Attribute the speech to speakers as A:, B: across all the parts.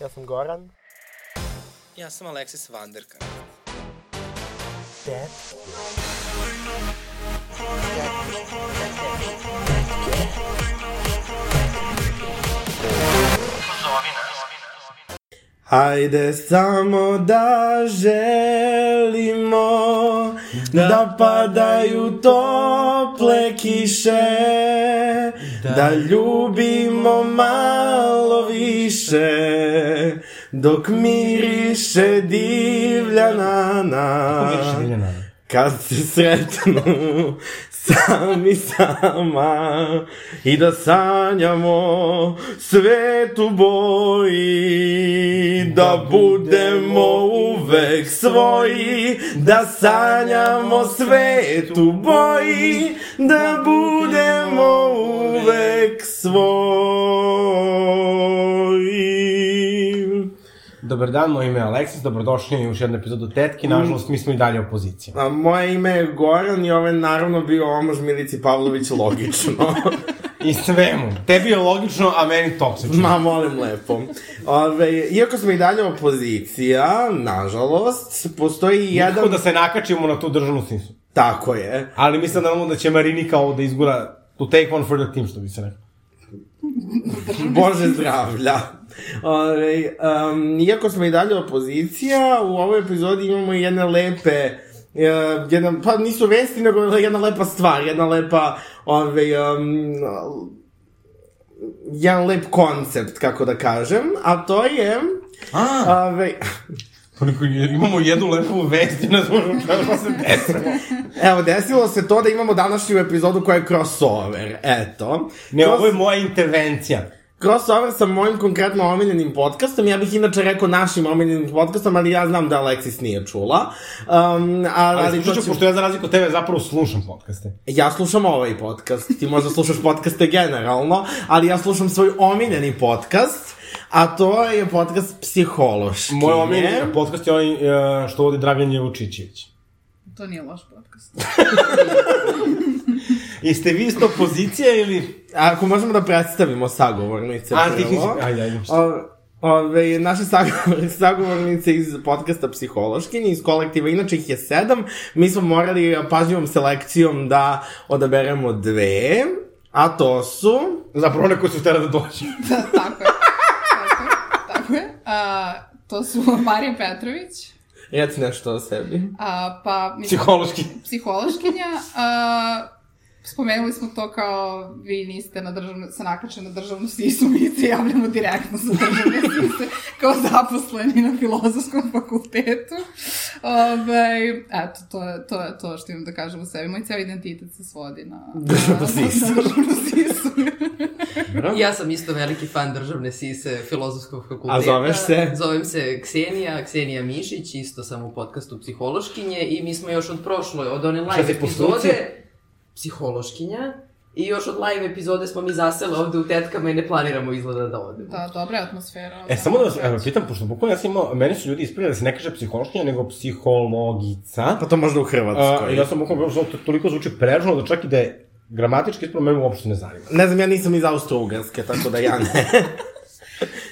A: Ja sam Goran.
B: Ja sam Alexis Vanderka.
A: Dead.
C: Hajde samo da želimo da, padaju tople kiše da, ljubimo malo više dok miriše divlja nana kad se sretnu sami sama i da sanjamo svet u boji da budemo uvek svoji da sanjamo svet u boji da budemo uvek svoji
D: Dobar dan, moje ime je Aleksis, dobrodošli u još jednu epizodu Tetki, nažalost mi smo i dalje opozicija.
C: A moje ime je Goran i ovo je naravno bio omož Milici Pavlović logično.
D: I svemu, tebi je logično, a meni toksično.
C: Ma, molim lepo. Ove, iako smo i dalje opozicija, nažalost, postoji jedan...
D: Nikako da se nakačimo na tu državnu sisu.
C: Tako je.
D: Ali mislim naravno da će Marinika ovo da izgura to take one for the team, što bi se rekao.
C: Bože zdravlja. Ove, um, iako smo i dalje opozicija, u ovoj epizodi imamo i jedne lepe e, jedan, pa nisu vesti, nego jedna lepa stvar, jedna lepa, ove, um, jedan lep koncept, kako da kažem, a to je...
D: A,
C: Ove,
D: toliko, Pa imamo jednu lepu vest i ne znam šta se desilo.
C: evo, desilo se to da imamo današnju epizodu koja je crossover, eto.
D: Ne,
C: Cross-
D: ovo je moja intervencija.
C: Crossover sa mojim konkretno omiljenim podcastom, ja bih inače rekao našim omiljenim podcastom, ali ja znam da Alexis nije čula. Um, ali,
D: Ali,
C: ali,
D: ali
C: to ću...
D: pošto ja za razliku od tebe zapravo slušam podcaste.
C: Ja slušam ovaj podcast, ti možda slušaš podcaste generalno, ali ja slušam svoj omiljeni podcast, a to je podcast psihološki.
D: Moj
C: ne?
D: omiljeni podcast je onaj e, što vodi Dragan Jevučićević.
E: To nije loš podcast.
D: Jeste vi isto opozicija ili...
C: Ako možemo da predstavimo sagovornice.
D: A, ti,
C: prvo.
D: ajde, ajde.
C: O, ove, naše sagovor, sagovornice iz podcasta Psihološkinje, iz kolektiva, inače ih je sedam, mi smo morali pažljivom selekcijom da odaberemo dve, a to su...
D: Zapravo one koji su htjela da dođu.
E: Da, tako je. Tako je. Tako je. A, to su Marija Petrović,
C: Reci nešto o sebi.
E: a, pa mislim,
D: Psihološki.
E: psihološkinja. A, spomenuli smo to kao vi niste na državnu, sa nakače na državnu sisu, mi se javljamo direktno sa državne sise kao zaposleni na filozofskom fakultetu. Ove, eto, to, je- to je to što imam da kažem o sebi. Moj ceo identitet se svodi na
C: Državnu
E: na-
C: sisu.
E: Na državnu sisu.
F: Ja sam isto veliki fan državne sise filozofskog fakulteta.
C: A zoveš se?
F: Zovem se Ksenija, Ksenija Mišić, isto sam u podcastu Psihološkinje i mi smo još od prošle, od one
D: Šta
F: live
D: si, poslulci?
F: epizode Psihološkinja i još od live epizode smo mi zasele ovde u tetkama i ne planiramo izgleda da odemo.
E: Da, dobra je atmosfera.
D: E, samo da vas evo, pitam, pošto bukvalno ja sam imao, meni su ljudi ispravili da se ne kaže psihološkinja, nego psihologica.
C: Pa to možda u
D: A,
C: Hrvatskoj.
D: ja sam bukvalno bilo, to toliko zvuči prežno da čak i da je gramatički ispravo, meni uopšte ne zanima.
C: Ne znam, ja nisam iz Austro-Ugrske, tako da ja ne.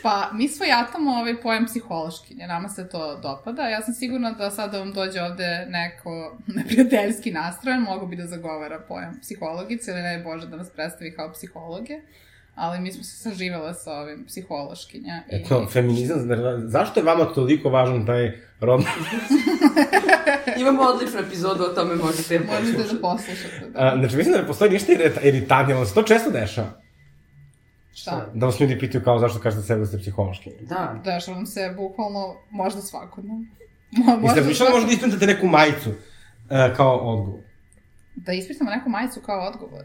E: Pa, mi svojatamo ovaj pojam psihološkinje, nama se to dopada. Ja sam sigurna da sada vam dođe ovde neko neprijateljski nastrojen, mogu bi da zagovara pojam psihologice ili ne Bože da nas predstavi kao psihologe, ali mi smo se saživele sa ovim psihološkinja. I...
D: Eto, feminizam, zar- zašto je vama toliko važan taj rodni...
F: Imamo odličnu epizodu, o tome
E: Možete
F: možete
E: da
F: poslušati.
E: poslušate, da.
D: A, znači, mislim da ne postoji ništa irita- iritantnije, ali se to često dešava.
E: Šta?
D: Da vas ljudi pitaju kao zašto kažete sebe da ste psihološkinja.
F: Da.
E: Dešava vam se bukvalno, možda svakodnevno. Mo,
D: Mislim,
E: možda,
D: razmišljam
E: možda,
D: možda isprintate neku majicu e, kao odgovor.
E: Da ispitamo neku majicu kao odgovor.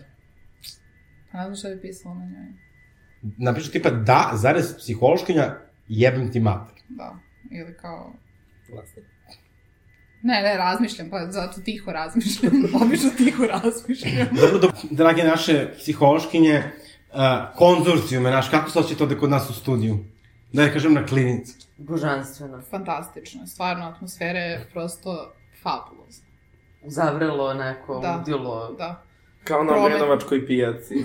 E: Pa ne znam šta bi pisalo na njoj.
D: napišu tipa da, zarez psihološkinja, jebem ti mater.
E: Da, ili kao... Ne, ne, razmišljam, pa zato tiho razmišljam. Obično tiho razmišljam.
D: Dobro, do, drage naše psihološkinje, uh, konzorcijume naš, kako se osjeća ovde kod nas u studiju? Da je kažem na klinici.
F: Božanstveno.
E: Fantastično, stvarno, atmosfera je prosto fabulozna.
F: Zavrelo onako,
E: Da.
F: da. udilo.
E: Da.
C: Kao na
E: Promet.
C: Obrenovačkoj pijaci.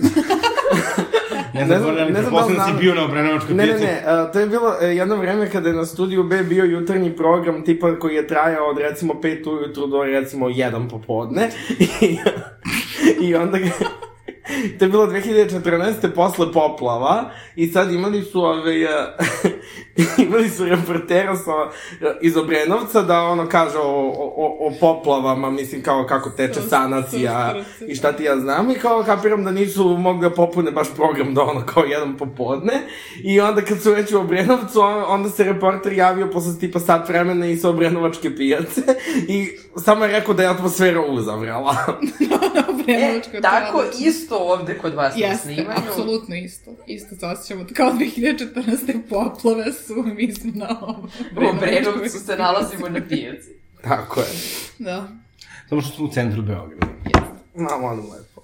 D: Ne
C: Ne
D: znam,
C: znam-
D: Gordan,
C: ne
D: ne
C: znam
D: znam
C: da li
D: da si
C: znam.
D: bio na Obrenovačkoj
C: Ne, ne,
D: pijaci.
C: ne, a, to je bilo e, jedno vreme kada je na Studiju B bio jutarnji program tipa koji je trajao od recimo 5 ujutru do recimo 1 popodne i, i onda ga... To je bilo 2014. posle poplava i sad imali su ove, e, imali su reportera sa, e, iz Obrenovca da ono kaže o, o, o- o poplavama, mislim kao kako teče sanacija i šta ti ja znam i kao kapiram da nisu mogli da popune baš program da ono kao jedan popodne i onda kad su već u Obrenovcu on- onda se reporter javio posle tipa sat vremena i sa Obrenovačke pijace i samo je rekao da je atmosfera uzavrela.
F: E,
E: Obrenovačka, to je
F: tako
E: odlično.
F: isto ovde kod vas na
E: Jeste,
F: snimanju.
E: apsolutno isto. Isto se osjećamo. Kao 2014. poplave su, mislim, na ovom.
F: U Brenovcu se nalazimo na pijaci.
C: Tako je.
E: Da.
D: Samo što smo u centru Beograda.
C: Malo ono lepo.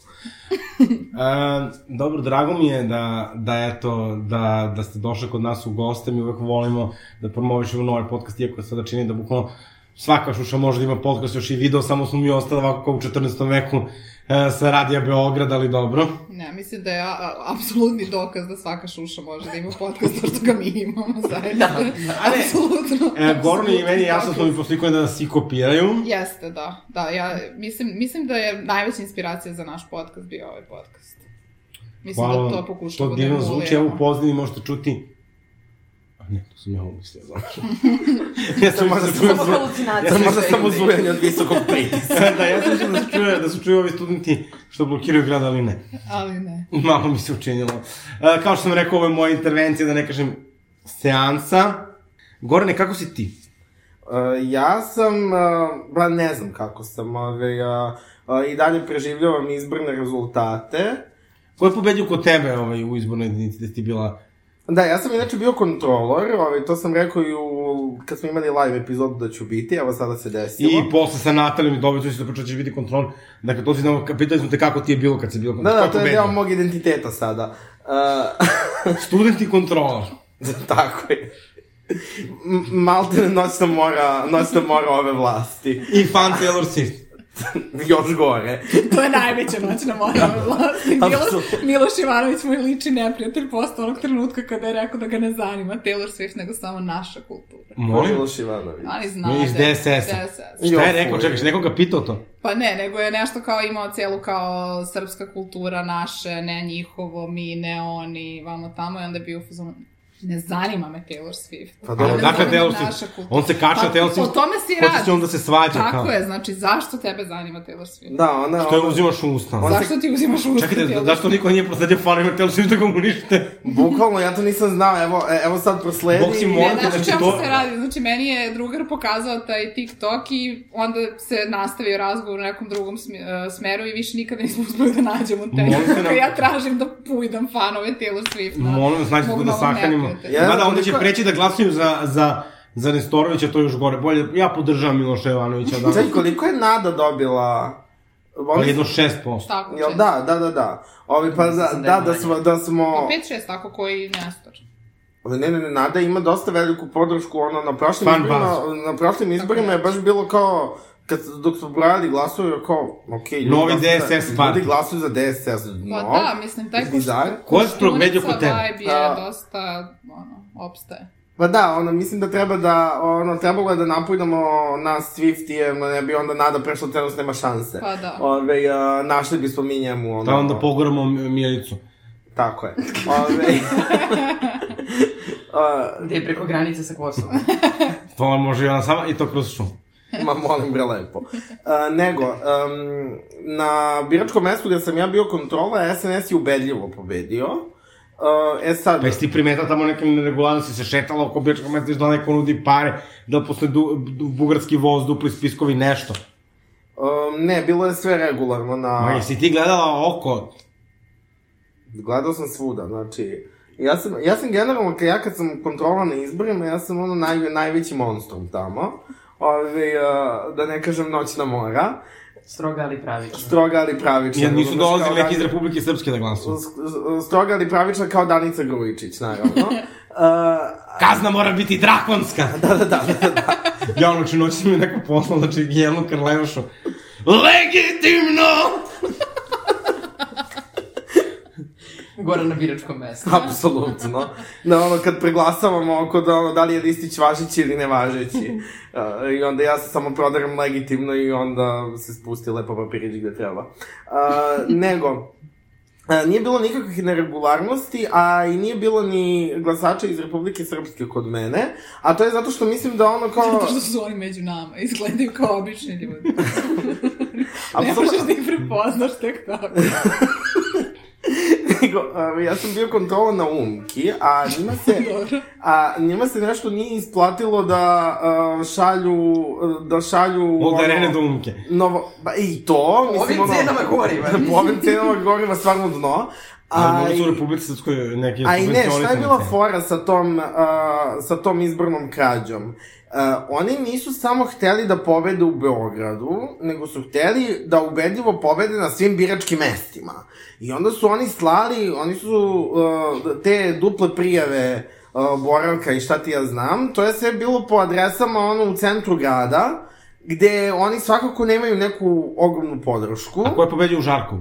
D: E, dobro, drago mi je da, da, eto, da, da ste došli kod nas u goste, mi uvek volimo da promovišemo nove podcast, iako sada čini da bukvalno svaka šuša može da ima podcast, još i video, samo smo mi ostali ovako kao u 14. veku e, sa radija Beograd, ali dobro.
E: Ne, mislim da je a- a- apsolutni dokaz da svaka šuša može da ima podcast, zato što ga mi imamo zajedno. da.
D: ali-
E: apsolutno.
D: E, Gorni i meni
E: apsolutni
D: je jasno
E: dokaz.
D: smo mi poslikuje da nas i kopiraju.
E: Jeste, da. Da, ja mislim, mislim da je najveća inspiracija za naš podcast bio ovaj podcast. Mislim da to pokušamo
D: to
E: da
D: divno zvuči, evo u
E: emuliramo.
D: pozadini možete čuti A ne, to sam ja umislio, zapravo. ja sam da
C: možda
D: možda
C: samo
F: Samo halucinacije.
C: Ja sam možda
F: sve
C: samo
F: ide.
C: zujanje od visokog pritiska.
D: da, ja sam mislio da se čuje, da se čuju ovi studenti što blokiraju grad, ali ne.
E: Ali ne.
D: Malo mi se učinilo. E, kao što sam rekao, ovo je moja intervencija, da ne kažem seansa. Gorane, kako si ti?
C: Uh, ja sam, uh, ba ne znam kako sam, ove, uh, uh, i dalje preživljavam izborne rezultate.
D: Ko je pobedio kod tebe ovaj, u izbornoj jedinici da ti bila...
C: Da, ja sam inače bio kontrolor, ovaj, to sam rekao i u, kad smo imali live epizodu da ću biti, evo sada se desilo.
D: I posle sa Natalijom i dobiću se da počeo ćeš biti kontrol. Dakle, to si znamo, pitali smo te kako ti je bilo kad si bilo
C: Da,
D: kontrol.
C: da, to je deo mog identiteta sada. Uh,
D: Student i kontrolor.
C: tako je. M- Malte noćna mora, noćna mora ove vlasti.
D: I fan Taylor Swift.
C: Još gore.
E: To je najveća noć na mojoj
D: Da.
E: vlasti. Miloš,
C: Apsolutno.
E: Miloš Ivanović moj liči neprijatelj posto onog trenutka kada je rekao da ga ne zanima Taylor Swift, nego samo naša kultura.
D: Molim?
C: Miloš Ivanović.
E: Ali zna
D: Mi iz
E: da je-
D: DSS-a.
E: DSS.
D: Šta je
C: Jo,
D: rekao?
C: fuj.
D: Čekaj, si nekoga pitao to?
E: Pa ne, nego je nešto kao imao celu kao srpska kultura naše, ne njihovo, mi, ne oni, vamo tamo i onda je bio u fazonu, ne zanima me Taylor Swift.
C: Pa
D: Ali
C: dobro.
E: Ne zanima
D: odakle
E: me
D: dakle, Taylor
E: naša
D: Swift?
E: kultura.
D: On se kača
E: Pa,
D: Taylor Swift.
E: o tome si
D: Hoće
E: radi.
D: se onda se svađa.
E: Tako
D: kao.
E: je, znači zašto tebe zanima Taylor Swift?
C: Da, ona...
D: To je
C: ona-
D: uzimaš u usta.
E: Zašto ti uzimaš usta
D: Čekajte, da,
E: Taylor
D: zašto niko nije prosledio fanima Taylor Swift da ga unište?
C: Bukvalno, ja to nisam znao, evo, e, evo sad prosledi.
D: Bog si
C: i-
D: moj.
E: Ne,
D: Morate,
E: znaš
D: znači,
E: znači, čemu
D: to-
E: se radi, znači meni je drugar pokazao taj TikTok i onda se nastavio razgovor u nekom drugom smi- e, smeru i više nikada nismo uspeli da nađemo te.
D: Možete nam-
E: ja tražim da pujdam fanove Taylor Swifta.
D: Molim vas, nađite
E: Mog
D: to da
E: novog
D: sahranimo.
E: neprijatelja.
C: Ja
D: Ja, da,
C: znam
D: onda će
C: koliko-
D: preći da glasaju za, za, za Nestorovića, to je još gore. Bolje, ja podržavam Miloša Jovanovića danas.
C: Čekaj, koliko je Nada dobila?
D: Pa
C: Oni
D: jedno 6%.
E: Tako
C: Jel,
E: će.
C: da, da, da, da. Ovi, pa da,
F: Mislim da
C: da,
F: je
C: da
F: manje.
C: smo, da smo...
E: Pa pet, šest, tako koji nestor.
C: Ne, ne, ne, Nada ima dosta veliku podršku, ono, na prošlim
D: Fan
C: izborima, na prošlim izborima je baš bilo kao, kad, dok su brojali glasove, kao, okej, ljudi
D: Novi
C: glasuju
D: DSS
C: za-
D: party.
C: Ljudi glasuju za DSS, no.
E: Pa da, mislim, taj kuš,
C: Bizar.
D: Ko je promedio kod tebe?
E: vibe je
C: Da.
E: dosta, ono, opstaje.
C: Pa da, ono, mislim da treba da, ono, trebalo je da napujdamo na Swiftijem, ne bi onda Nada prešla trenutno nema šanse.
E: Pa da.
C: Ove, a, našli bismo mi njemu, ono...
D: Pa onda pogoramo Mijelicu.
C: Tako je. Ove, a,
F: Gde je preko granice sa Kosovom.
D: To može i ona sama i to kroz šum.
C: Ma molim bre lepo. Uh, nego, um, na biračkom mestu gde sam ja bio kontrola, SNS je ubedljivo pobedio. Uh, e sad,
D: Pa jesi ti primetao tamo nekim neregularnosti se šetala oko biračkog mesta, viš da neko nudi pare, da posle du, du, bugarski voz, dupli spiskovi, nešto.
C: um, ne, bilo je sve regularno na...
D: Ma jesi ti gledala oko?
C: Gledao sam svuda, znači... Ja sam, ja sam generalno, kad ja kad sam kontrola na izborima, ja sam ono naj, najveći monstrum tamo. Ove, uh, da ne kažem noćna mora.
F: Stroga ali pravično.
C: Stroga ali pravična.
D: Jer nisu
C: Znaš, kao
D: dolazili neki iz
C: da-
D: Republike Srpske da glasuju.
C: s- s- Stroga ali pravična kao Danica Grujičić, naravno. Uh,
D: Kazna mora biti drakonska! da, da, da, da, da. ja ono, noć sam mi znači, neko poslao, znači, Gijenu Karlevošu. Legitimno!
F: Gora na biračkom mestu.
C: Apsolutno. Da ono kad preglasavamo oko da, ono, da li je listić važeći ili nevažeći. Uh, I onda ja se samo prodaram legitimno i onda se spusti lepo papirić gde treba. Uh, nego, E, nije bilo nikakvih neregularnosti, a i nije bilo ni glasača iz Republike Srpske kod mene, a to je zato što mislim da ono kao...
E: Zato što su oni među nama, izgledaju kao obični ljudi. ne
C: Apsolutno.
E: možeš da ih prepoznaš tek tako.
C: Nego, um, ja sam bio kontrola na umki, a njima se,
E: Dobro.
C: a njima se nešto nije isplatilo da uh, šalju, da šalju...
D: Od arene
C: ono,
D: do umke.
C: Novo, ba, i to,
F: Po ovim cenama goriva.
C: po ovim cenama goriva stvarno dno.
D: Ali
C: A,
D: možda su u
C: i-
D: Republici Srpskoj neke
C: a i ne, šta je
D: subvencionisane
C: bila
D: cene.
C: fora sa tom, uh, sa tom izbornom krađom? Uh, oni nisu samo hteli da pobede u Beogradu, nego su hteli da ubedljivo pobede na svim biračkim mestima. I onda su oni slali, oni su uh, te duple prijave uh, boravka i šta ti ja znam, to je sve bilo po adresama ono u centru grada, gde oni svakako nemaju neku ogromnu podršku.
D: A ko je pobedio u Žarku?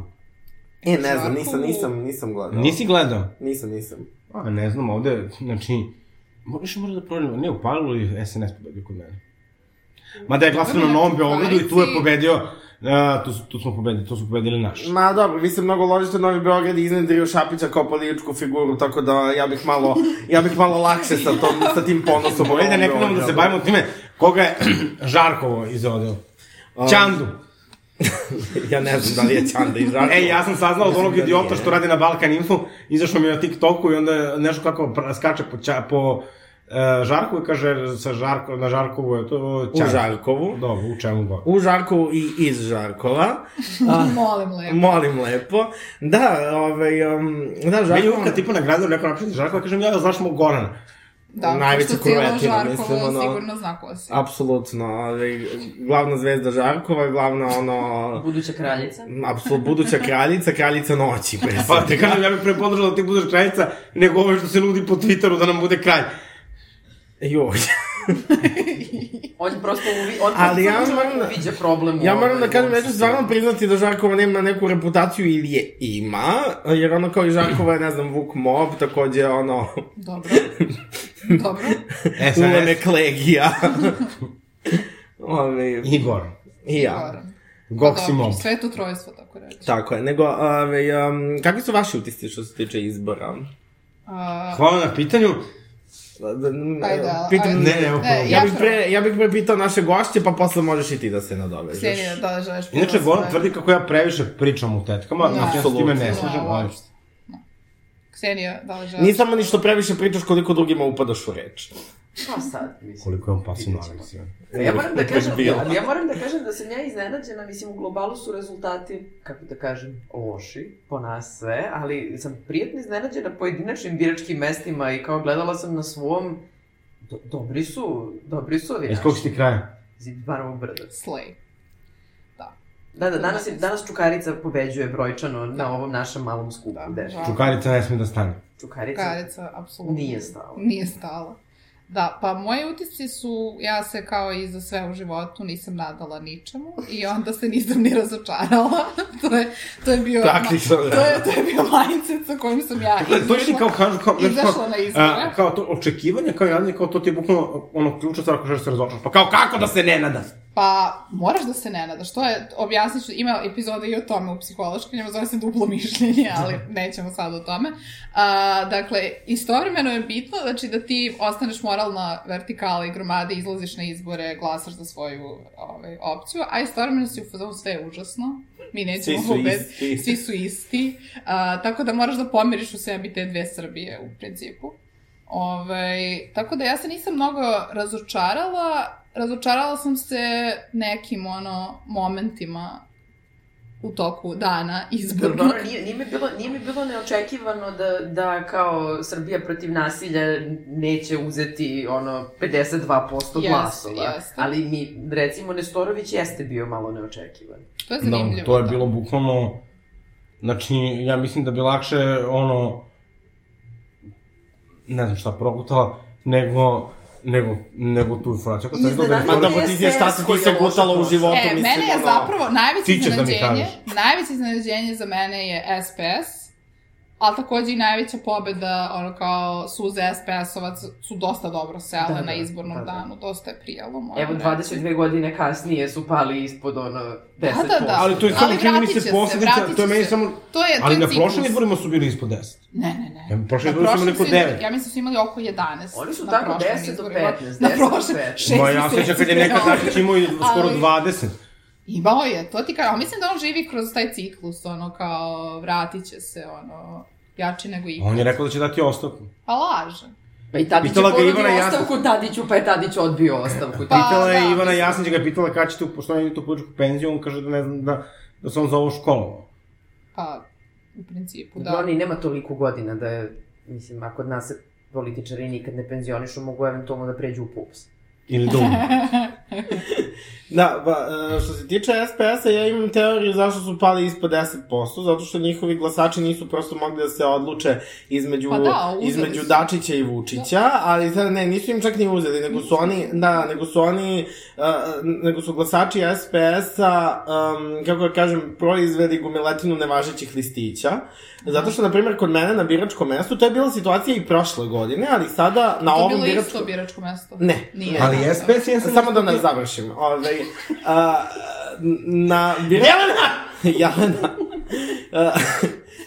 C: E, ne znam,
E: Žarkovu?
C: nisam, nisam, nisam gledao.
D: Nisi gledao?
C: Nisam, nisam.
D: A Pa, ne znam, ovde, znači, moraš mora da prođemo, ne, u Palilulu je SNS pobedio kod mene. Mada je glasano
C: Znači,
D: na Novom Beogradu i tu je pobedio, uh, tu, su- tu smo pobedili, tu su pobedili naši.
C: Ma dobro, vi se mnogo ložite Novi Beograd i iznedrio Šapića kao političku figuru, tako da ja bih malo, ja bih malo lakše sa, tom, sa tim ponosom.
D: Bolje da
C: Novom
D: ne krenemo da
C: Beogradu.
D: se bavimo time koga je Žarkovo izvodio.
C: Um,
D: Ćandu.
C: Ja ne znam da li je Ćanda i Žarko.
D: E, ja sam saznao od
C: da
D: onog idiota što radi na Balkan Info, izašao mi je na TikToku i onda je nešto kako pra- skače po, ča, po e, Žarku i kaže sa Žarko, na Žarkovu je to
C: U Žarkovu.
D: Dobro, u čemu god.
C: U Žarkovu i iz Žarkova.
E: Molim lepo.
C: Molim lepo. Da, ovaj, um, da,
D: Meni je
C: Žarkovo...
D: uvijek tipo nagradio neko napiše Žarkova, kažem ja da znaš mog Gorana.
E: Da,
C: najveća
E: najveća kurvetina,
C: kurvetina,
E: mislim, ono...
C: mislim, ono-
E: sigurno zna ko si.
C: Apsolutno, ovaj, glavna zvezda Žarkova, glavna ono...
F: Buduća kraljica.
C: Apsolutno, buduća kraljica, kraljica noći. pre
D: Pa te kažem, ja bih pre podržao da ti budeš kraljica, nego ovo što se nudi po Twitteru da nam bude kralj.
C: Joj.
F: On prosto uvi, on
C: Ali ja
F: prosto
C: moram da-
F: uviđa problem. u
C: Ja
F: ovoj-
C: moram da kažem,
F: ovom
C: ja ću
F: sistemu.
C: stvarno priznati da Žarkova nema neku reputaciju ili je ima, jer ono kao i Žarkova je, ne znam, Vuk Mob, takođe ono,
E: Dobro. Dobro.
C: E,
D: SNS
C: Ulane Klegija. Ove,
D: Igor.
C: I ja.
E: Dobro.
D: Goksimov.
E: Pa Dobro, Sve je to trojstvo, tako reći.
C: Tako je, nego, ove, um, kakvi su vaši utisci što se tiče izbora?
E: A, pa
D: Hvala na pitanju.
E: Ajde,
C: Pitam,
E: ajde.
D: Ne, ne,
E: Ne,
D: ne,
C: ja,
E: da, e, ja
C: bih pre, ja bih pre pitao naše gošće, pa posle možeš i ti da se nadovežeš.
E: Sjeni da želiš
D: Inače,
E: prvo
D: Goran
E: sve.
D: tvrdi kako ja previše pričam u tetkama,
E: Da.
D: znači ja se s time ne
C: Apsolutno.
D: slažem,
E: Da,
D: ali...
E: uopšte. Ksenija, da li želiš?
C: Ni samo ni što previše pričaš koliko drugima upadaš u reč.
F: Šta Pa sad, mislim?
D: Koliko je on pasivno agresivan.
F: Ja moram da
C: Uvek
F: kažem,
C: bio.
F: ali ja moram da kažem da sam ja iznenađena, mislim u globalu su rezultati, kako da kažem, loši po nas sve, ali sam prijatno iznenađena pojedinačnim biračkim mestima i kao gledala sam na svom, do, dobri su, dobri su ovi
D: Iz kog si ti kraja?
F: iz Barovog brda.
E: Slay.
F: Da, da, danas, je, danas Čukarica pobeđuje brojčano na ovom našem malom skupu. Da,
E: Žal.
D: Čukarica ne sme da stane.
F: Čukarica,
E: Karica, apsolutno.
F: nije stala.
E: Nije stala. Da, pa moji utisci su, ja se kao i za sve u životu nisam nadala ničemu i onda se nisam ni razočarala. to, je, to je bio...
C: Praktično, da.
E: To je, to je bio mindset sa kojim sam ja
D: To je Točno kao kažu, kao, znaš,
E: izašla na izbore.
D: a, kao to očekivanje, kao i nadanje, kao to ti je bukvalno ono ključna stvar ako želiš da se razočaraš. Pa kao kako da se ne nadaš?
E: Pa, moraš da se ne nadaš, to je, objasnit ću, ima epizoda i o tome u psihološkinjama, zove se duplo mišljenje, ali nećemo sad o tome. A, dakle, istovremeno je bitno, znači da ti ostaneš moralna vertikala i gromade, izlaziš na izbore, glasaš za svoju ovaj, opciju, a istovremeno si u fazonu sve je užasno, mi
C: Svi
E: nećemo
C: su
E: pobediti
C: isti.
E: svi su isti, a, tako da moraš da pomiriš u sebi te dve Srbije u principu. Ove, tako da ja se nisam mnogo razočarala, razočarala sam se nekim ono momentima u toku dana izbornog.
F: Dobro, nije, nije, mi bilo, nije mi bilo neočekivano da, da kao Srbija protiv nasilja neće uzeti ono 52%
E: Jeste,
F: glasova.
E: jeste.
F: Ali mi, recimo, Nestorović jeste bio malo neočekivan.
E: To je zanimljivo.
D: Da, to je
E: da.
D: bilo bukvalno, znači, ja mislim da bi lakše, ono, ne znam šta progutala, nego, nego, nego tu informaciju. Ako sam rekao da je
F: Iznenadilo
C: Ma da
F: Ono
D: Nestorović-
C: mu ti znaš šta se ti
F: koji je
C: se gutalo u
F: loša
C: životu,
E: E,
C: mislim,
E: mene je
C: ono-
E: zapravo najveće
D: Ti ćeš da mi
E: iznenađenje,
D: kažeš.
E: najveće iznenađenje za mene je SPS, ali takođe i najveća pobeda, ono kao suze SPS-ovac su dosta dobro sele
F: Da, da,
E: na izbornom
F: da, da.
E: danu, dosta je prijalo, moram
F: Evo,
E: reći.
F: 22 godine kasnije su pali ispod ono 10%.
E: da, da.
D: Ali to je samo
E: Ali
D: čini mi
E: vratit će
D: se
E: se,
D: posljedica,
E: vratit
D: to je
E: će
D: meni
E: se.
D: samo...
E: To je, to
D: Ali
E: je
D: na
E: ciklus.
D: prošlim izborima su bili ispod 10.
E: Ne, ne, ne.
D: Ja, prošli
E: Na
D: izbori su
E: prošlim
D: imali oko
E: su imali-
D: 9.
E: Ja mislim da su imali oko 11.
F: Oni su
E: na
F: tako
E: prošlim
F: 10 do
E: izborima.
F: 15,
E: Na
F: 10 do
E: prošlim
F: 15.
E: 6
D: Ma ja sećam kad je nekad Dačić imao i skoro
E: Ali-
D: 20.
E: Imao je, to ti kao, mislim da on živi kroz taj ciklus, ono kao, vratit će se, ono, jači nego
D: A
E: ikad.
D: On je rekao da će dati ostavku.
E: Pa laže.
F: Pa i Tadić je
D: Pitala ga
F: ponudio
D: Ivana Jasna.
F: ostavku Tadiću, pa je Tadić odbio ostavku.
E: Pa,
D: Pitala je
E: da,
D: Ivana
E: mislim.
D: Jasnić, ga je pitala kada ćete, pošto on ide tu političku penziju, on kaže da ne znam da, da se on za ovo školovao.
E: Pa, u principu,
F: Da.
E: da.
F: Oni nema toliko godina da je, mislim, ako od nas se političari nikad ne penzionišu, mogu eventualno da pređu u PUPS.
D: Ili dom.
C: Da, ba, e, što se tiče SPS-a, ja imam teoriju zašto su pali ispod 10%, zato što njihovi glasači nisu prosto mogli da se odluče između,
E: Pa da, uzeli
C: između
E: su. Da.
C: Dačića i Vučića, ali sad ne, nisu im čak ni uzeli, nego su oni, da, nego su oni, e, nego su glasači SPS-a, um, kako da kažem, proizveli gumiletinu nevažećih listića,
E: Mhm.
C: zato što, na primjer, kod mene na biračkom mestu, to je bila situacija i prošle godine, ali sada na
E: to je
C: ovom
E: bilo
C: biračkom...
E: isto biračko mesto.
C: Ne.
E: Nije.
D: Ali
E: Da.
D: SPS je sam...
C: Samo da nas završim. Ove, a, na... Bira... Jelena! Jelena. A,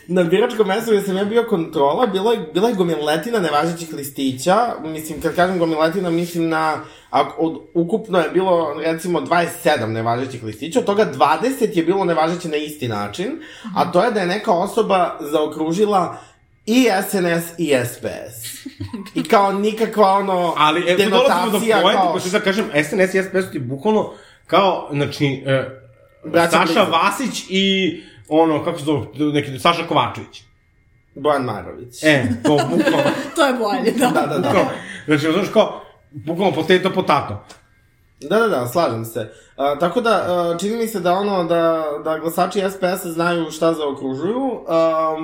C: na biračkom mestu gde sam ja bio kontrola, bilo je, bila je gomiletina nevažećih listića. Mislim, kad kažem gomiletina, mislim na... Ako, od, ukupno je bilo, recimo, 27 nevažećih listića, od toga 20 je bilo nevažeće na isti način, a to je da je neka osoba zaokružila i SNS i SPS. I kao nikakva ono
D: Ali, evo, tu dolazimo do
C: denotacija
D: pojenta,
C: kao-
D: kao... da kažem, SNS i SPS su ti bukvalno kao, znači, e,
C: Braća
D: Saša
C: Blizak.
D: Vasić i ono, kako se zove, neki, Saša Kovačević.
C: Bojan Marović.
D: E, to bukvalno.
E: To je bolje, da.
C: Da, da,
D: Kao,
C: da.
D: znači, znaš kao, bukvalno potato potato.
C: Da, da, da, slažem se. Uh, tako da, uh, čini mi se da ono, da, da glasači SPS-a znaju šta zaokružuju, uh,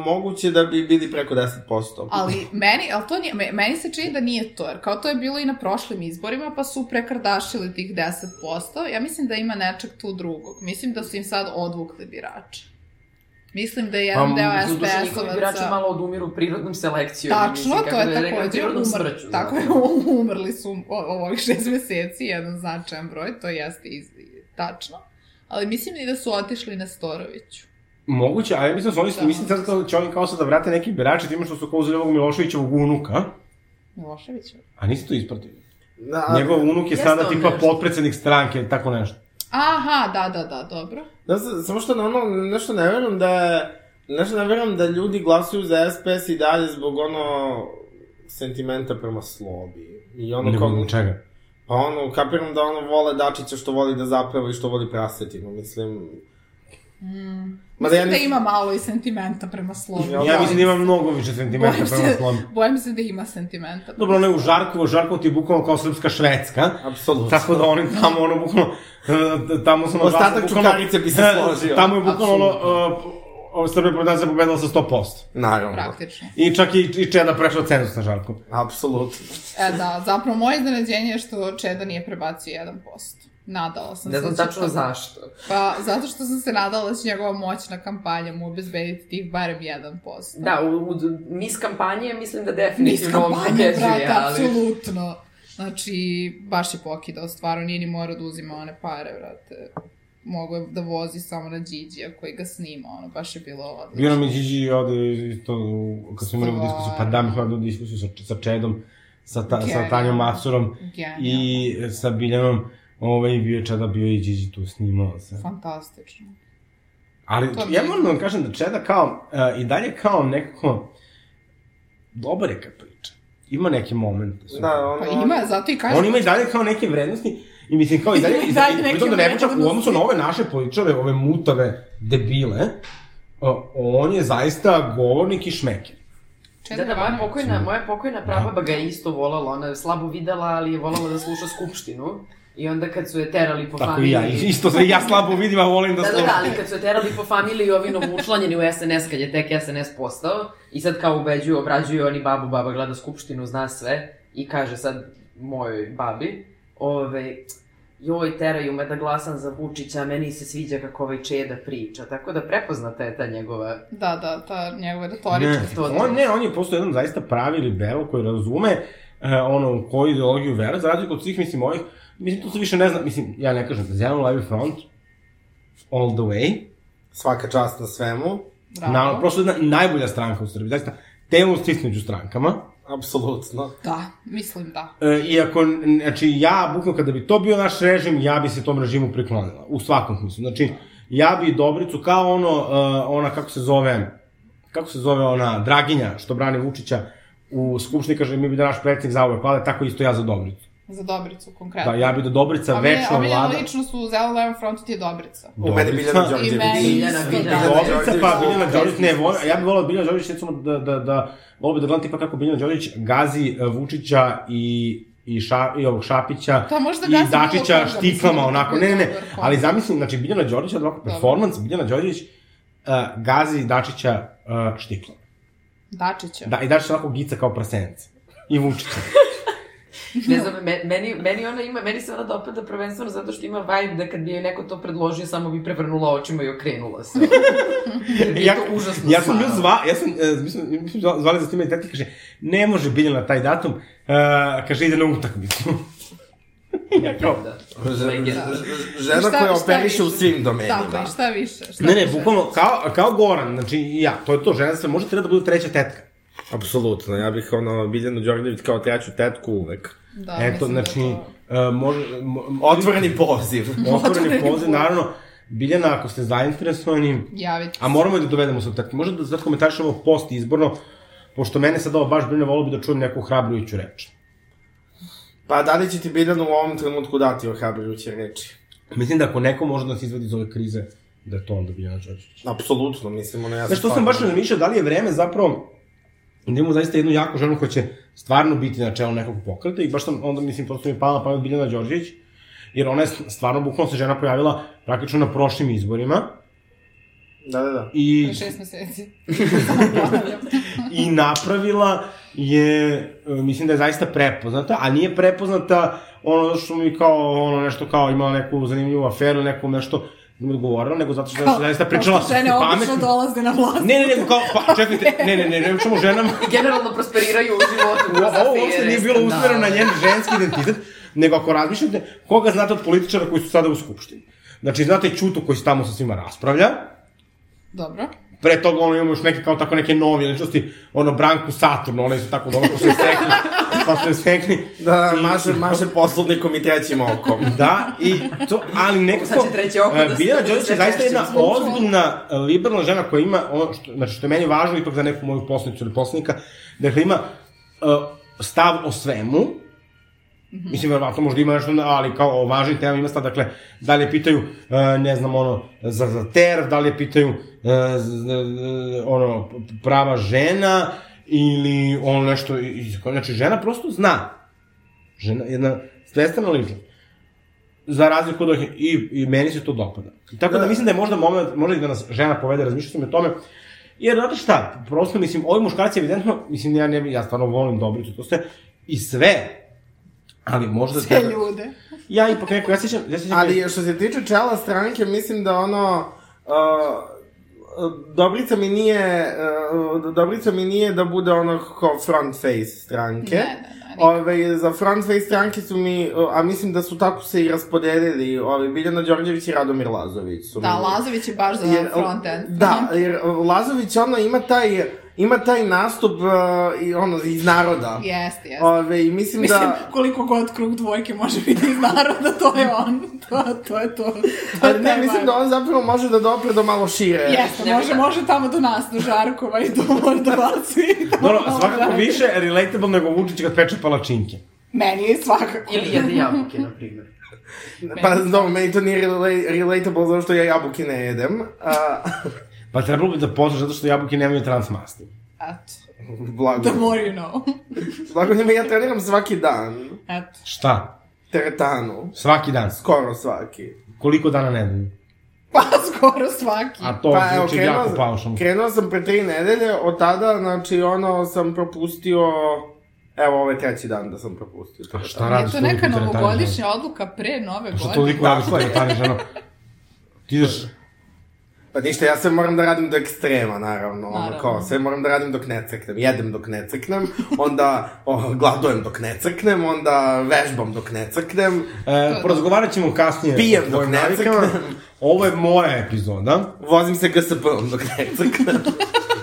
C: moguće da bi bili preko 10%.
E: Ali meni, ali to nije, me- meni se čini da nije to, jer kao to je bilo i na prošlim izborima, pa su prekardašili tih 10%. Ja mislim da ima nečeg tu drugog. Mislim da su im sad odvukli birače. Mislim da je jedan
F: Pa,
E: deo
F: Doduše, njihovi birači
E: SPS-ovaca...
F: malo odumiru prirodnom selekcijom.
E: Tačno,
F: mislim, kako
E: to je
F: da rekla,
E: takođe
F: prirodnom
E: umr...
F: smrću, znači.
E: Tako je,
F: zapravo.
E: umrli su o- ovih šest meseci, jedan značajan broj, to jeste iz... tačno. Ali mislim i da su otišli na Storoviću.
D: Moguće, ali ja mislim da su oni,
E: Da.
D: mislim sad da će oni kao sad da vrate neki birače time što su kao uzeli ovog Miloševićevog unuka,
E: Milošević?
D: a nisu to ispratili.
C: Da,
D: Njegov unuk je
F: jeste
D: sada
F: on
D: tipa
F: nešto.
D: potpredsednik stranke, tako nešto.
E: Aha, da, da, da, dobro.
C: da, s- samo što na ono, nešto ne verujem da je, nešto ne verujem da ljudi glasuju za SPS i dalje zbog ono, sentimenta prema slobi. I ono
D: Nego
C: kao,
D: zbog čega?
C: pa ono, kapiram da ono vole Dačića što voli da zapeva i što voli prasetinu, mislim...
E: Mm.
C: Ma
E: Ma
C: da
E: da,
C: ja
E: da
C: nisam-
E: ima malo i sentimenta prema slovu.
C: Ja
D: Ja mislim da
E: ima...
D: ima mnogo više sentimenta
E: Bojim
D: prema
E: se-
D: slobi.
E: Bojim se da ima sentimenta.
D: Dobro, ono je u Žarkovo, Žarkovo ti je bukvalno kao srpska švedska,
C: Apsolutno.
D: tako da oni tamo, ono, bukvalno, e, tamo sam...
C: Ostatak
D: bukvalno-
C: Čukarice bi se
D: e,
C: složio.
D: Tamo je bukvalno, ono,
C: Apsolutno.
D: e, ovo Srbija prodaja se pobedala sa 100%.
C: Naravno.
E: Praktično.
D: I čak i, i Čeda prešao cenzus na Žarku.
C: Apsolutno.
E: E, da, zapravo moje iznenađenje je što Čeda nije prebacio 1%. Nadala sam
F: Ne
E: se.
F: znam
E: da će
F: tačno
E: to-
F: zašto.
E: Pa, zato što sam se nadala da će njegova moćna kampanja mu obezbediti tih barem 1%.
F: Da, u, u mis kampanje mislim da
E: Niz
F: definitivno ovo
E: kampanje,
F: pobjeđuje,
E: brate,
F: ali...
E: apsolutno. Znači, baš je pokidao, stvarno nije ni morao da uzima one pare, brate. Mogu je da vozi samo na Điđija koji ga snima, ono, baš je bilo odlično.
D: Bio nam je Gigi ovde, i to, u- kad smo imali ovu diskusiju, pa da, mi smo imali diskusiju sa, sa Čedom, sa, ta, sa
E: Genijalno.
D: Tanjom Masurom
E: Genijalno.
D: i sa Biljanom, ovaj, bio je Čeda, bio je i Gigi tu, snimao se.
E: Fantastično.
D: Ali
E: To mi
D: ja
E: je-
D: moram da vam kažem da Čeda kao, uh, i dalje kao nekako, dobar je kad priča. Ima neki moment.
C: Da, ono...
E: Pa ima, zato i kažem.
D: On ima i dalje kao neke vrednosti, i mislim kao i dalje,
E: Ima i
D: i
E: dalje
D: dalje
E: neke
D: pritom da ne pričam u
E: vrednosti.
D: odnosu na ove naše političare, ove mutave debile, uh, on je zaista govornik i šmeker.
E: Čeda
F: Da, da, moja
E: Vanja.
F: pokojna, moja pokojna prababa ga je isto volala, ona je slabo videla, ali je volala da sluša skupštinu. I onda kad su je terali po
E: Pa
D: Tako i
F: familiji...
D: ja, isto se i ja slabo vidim, a volim da
F: Da, da,
D: slušam.
F: da, ali kad su je terali po familiji ovi novučlanjeni u SNS, kad je tek SNS postao, i sad kao ubeđuju, obrađuju oni babu, baba gleda skupštinu, zna sve, i kaže sad mojoj babi, ove, joj, teraju me da glasam za Vučića, a meni se sviđa kako ovaj Čeda priča. Tako da prepoznata je ta njegova...
E: Da, da, ta njegova retorička.
F: to-
D: on, ne, on je postao jedan zaista pravi libero koji razume e, ono u koju ideologiju vera, za razliku od svih, mislim, ovih, mislim, to se više ne zna, mislim, ja ne kažem, zeleno levi front, all the way,
C: Svaka čast na svemu.
E: Bravo.
D: na, prosto jedna najbolja stranka u Srbiji, zaista, temu stisnu među strankama,
C: Apsolutno.
E: Da, mislim da.
D: E, iako, n- znači, ja, bukno, kada bi to bio naš režim, ja bi se tom režimu priklonila, u svakom smislu. Znači, ja bi Dobricu, kao ono, e, ona, kako se zove, kako se zove ona, Draginja, što brani Vučića, u Skupštini kaže, mi bi da naš predsjednik zauvek pale, tako isto ja za Dobricu.
E: Za Dobricu konkretno.
D: Da, ja bi da Dobrica
E: Omiljen-
D: večno vlada.
E: Omiljena ličnost u Zeleno Levom frontu ti je Dobrica.
C: U mene Biljana
D: Dobrica-
C: Đorđević.
E: meni
F: Biljana,
E: isto,
F: Biljana.
E: da.
D: Dobrica, pa
C: Đorđević.
D: Biljana Đorđević, ne, volim, ja bih volao Biljana Đorđević, recimo, da, da, da, volao bi da gledam tipa kako Biljana Đorđević gazi e, Vučića i, i, ša, i ovog Šapića,
E: Pa možda
D: i
E: gazi bilo
D: Dačića
E: koga,
D: štiklama,
E: mislim,
D: onako,
E: da
D: ne,
E: je
D: ne, ne,
E: dobar fond.
D: ali zamislim, znači, Biljana Đorđević, ovako,
E: Dobro.
D: performans, Biljana Đorđević uh, gazi Dačića uh, štiklom.
E: Dačića.
D: Da, i Dačić ovako gica kao prasence. I Vučića.
F: Ne znam, me- meni, meni ona ima, meni se ona dopada prvenstveno zato što ima vibe da kad bi joj neko to predložio, samo bi prevrnula očima i okrenula se. Jer mi je
D: ja,
F: to užasno
D: ja sam bio
F: stvarno.
D: zva, ja sam, uh, mislim, mislim, zva- zvali za time i tati kaže, ne može Biljana taj datum, uh, kaže, ide na utakmicu. ja kao,
F: Da.
C: Ž-
F: Legenda.
C: ž-
E: I šta-
C: Žena koja
E: šta više?
C: operiše u svim
E: Tako je,
C: domenima.
E: šta više? Šta
D: ne, ne,
E: više?
D: bukvalno, kao, kao Goran, znači, i ja, to je to, žena sve, može treba da bude treća tetka.
C: Apsolutno, ja bih ono Biljanu Đorđević kao treću tetku uvek.
E: Da,
D: Eto,
E: mislim da
D: znači,
E: to-
D: uh, može, mo,
C: Otvoreni poziv.
D: Otvoreni poziv, naravno. Biljana, ako ste zainteresovani,
E: Javiti.
D: a moramo i da dovedemo sa utakmice. Možda da sad komentarišemo post izborno, pošto mene sad ovo baš brine, volio bi da čujem neku hrabrujuću reč.
C: Pa da li će ti Biljanu u ovom trenutku dati ohrabrujuće reči?
D: Mislim da ako neko može da nas izvadi iz ove krize, da je to onda Biljana Đorđević.
C: Apsolutno, mislim, ono ja
D: Znaš, to sam baš
C: stvarno-
D: razmišljao, da li je vreme zapravo da imamo zaista jednu jaku ženu koja će stvarno biti na čelu nekog pokreta i baš sam, onda mislim, prosto mi je pala na pamet Biljana Đorđević, jer ona je stvarno, bukvalno se žena pojavila praktično na prošlim izborima
C: Da, da, da.
D: i
E: Šest meseci.
D: i napravila je, e, mislim da je zaista prepoznata, a nije prepoznata ono što mi kao, ono nešto kao imala neku zanimljivu aferu, neku nešto da mi odgovorila, nego zato što je zaista pričala
E: Pošto žene obično
D: pametno.
E: dolaze na vlast.
D: Ne, ne, nego kao, pa čekajte, ne, ne, ne, ne, pričamo o ženama.
F: Generalno prosperiraju u životu. da. kroz
D: Ovo uopšte da.
F: afere,
D: nije bilo
F: skandale.
D: usmereno na njen ženski identitet, nego ako razmišljate, koga znate od političara koji su sada u Skupštini? Znači, znate Ćutu koji se tamo sa svima raspravlja,
E: Dobro.
D: Pre toga ono imamo još neke kao tako neke novi ličnosti, ono Branku Saturn, one su tako dobro ko se sekni, pa se sekni.
C: Da,
D: I-
C: maže, maže poslovnikom i trećim okom.
D: Da, i to, ali nekako...
F: Sad će treći oko da se-
D: Biljana
F: da se
D: Đorđević je
F: sve
D: zaista jedna
F: češće
E: zvuči.
D: ozbiljna, e, liberalna žena koja ima, ono što, znači što je meni važno ipak za neku moju poslanicu ili poslanika, dakle ima uh, stav o svemu, Mislim, verovatno možda ima nešto, ali kao o važnim temama ima stav, dakle, da li je pitaju, e, ne znam, ono, za, za terv, da li je pitaju, e, z- z- ono, prava žena, ili ono nešto, iz- znači, žena prosto zna. Žena, jedna svestrana ličnost za razliku od ovih, i, i meni se to dopada. I tako da, mislim da je možda moment, možda i da nas žena povede, razmišljao sam i o tome, jer znate šta, prosto mislim, ovi muškarci evidentno, mislim ja ne bi, ja stvarno volim Dobricu, to ste, i sve, ali možda...
E: Sve ljude.
D: Ja ipak neko, ja sećam, ja sećam...
C: Ali što se tiče čela stranke, mislim da ono... Uh, Dobrica mi nije, uh, Dobrica mi nije da bude ono kao front face stranke.
E: Ne, ne, ne, nikako.
C: Ove, za front face stranke su mi, uh, a mislim da su tako se i raspodelili, ove, Biljana Đorđević i Radomir Lazović su
E: Da,
C: mi.
E: Lazović je baš za
C: Jer,
E: frontend.
C: Da, jer Lazović ono ima taj, ima taj nastup uh, i ono iz naroda.
E: Jeste, jeste.
C: Ove, i mislim,
E: Mislim,
C: da...
E: koliko god krug dvojke može biti iz naroda, to je on. To, to je to. to je
C: Ali ne,
E: taj
C: mislim
E: vibe.
C: da on zapravo može da dopre do malo šire.
E: Jeste, može, može tamo do nas, do Žarkova i do, do vas i do...
D: Dobro, svakako više relatable nego Vučić kad peče palačinke.
E: Meni je svakako.
F: Ili jede jabuke, na primjer.
C: Pa dobro, meni to nije rela- relatable zato što ja jabuke ne jedem. A,
D: Pa trebalo bi da pozvaš zato što jabuke nemaju transmasti.
E: Eto,
C: blago.
D: Da
E: the more you know.
C: Blago njima ja treniram svaki dan.
E: Eto.
D: Šta?
C: Teretanu.
D: Svaki dan.
C: Skoro svaki.
D: Koliko dana nedelju?
E: Pa skoro svaki.
D: A to pa, zvuči jako paušalno.
C: krenuo sam pre tri nedelje, od tada, znači, ono, sam propustio Evo, ovo je treći dan da sam propustio. to.
D: Šta
E: Je
D: radiš
E: to
D: toliko
E: neka
D: u teretani žena?
E: novogodišnja odluka pre nove
D: Što
E: godine?
D: toliko radiš u teretani žena? Ti ideš,
C: Pa ništa, ja sve moram da radim do ekstrema, naravno. Ono,
E: Naravno.
C: kao, sve moram da radim dok ne crknem. Jedem dok ne crknem, onda o, gladujem dok ne crknem, onda vežbam dok ne crknem.
D: e, porazgovarat ćemo kasnije.
C: Pijem
D: o
C: dok
D: tvojim
C: ne
D: navikama.
C: crknem.
D: Ovo je moja epizoda.
C: Vozim se GSP-om dok ne crknem.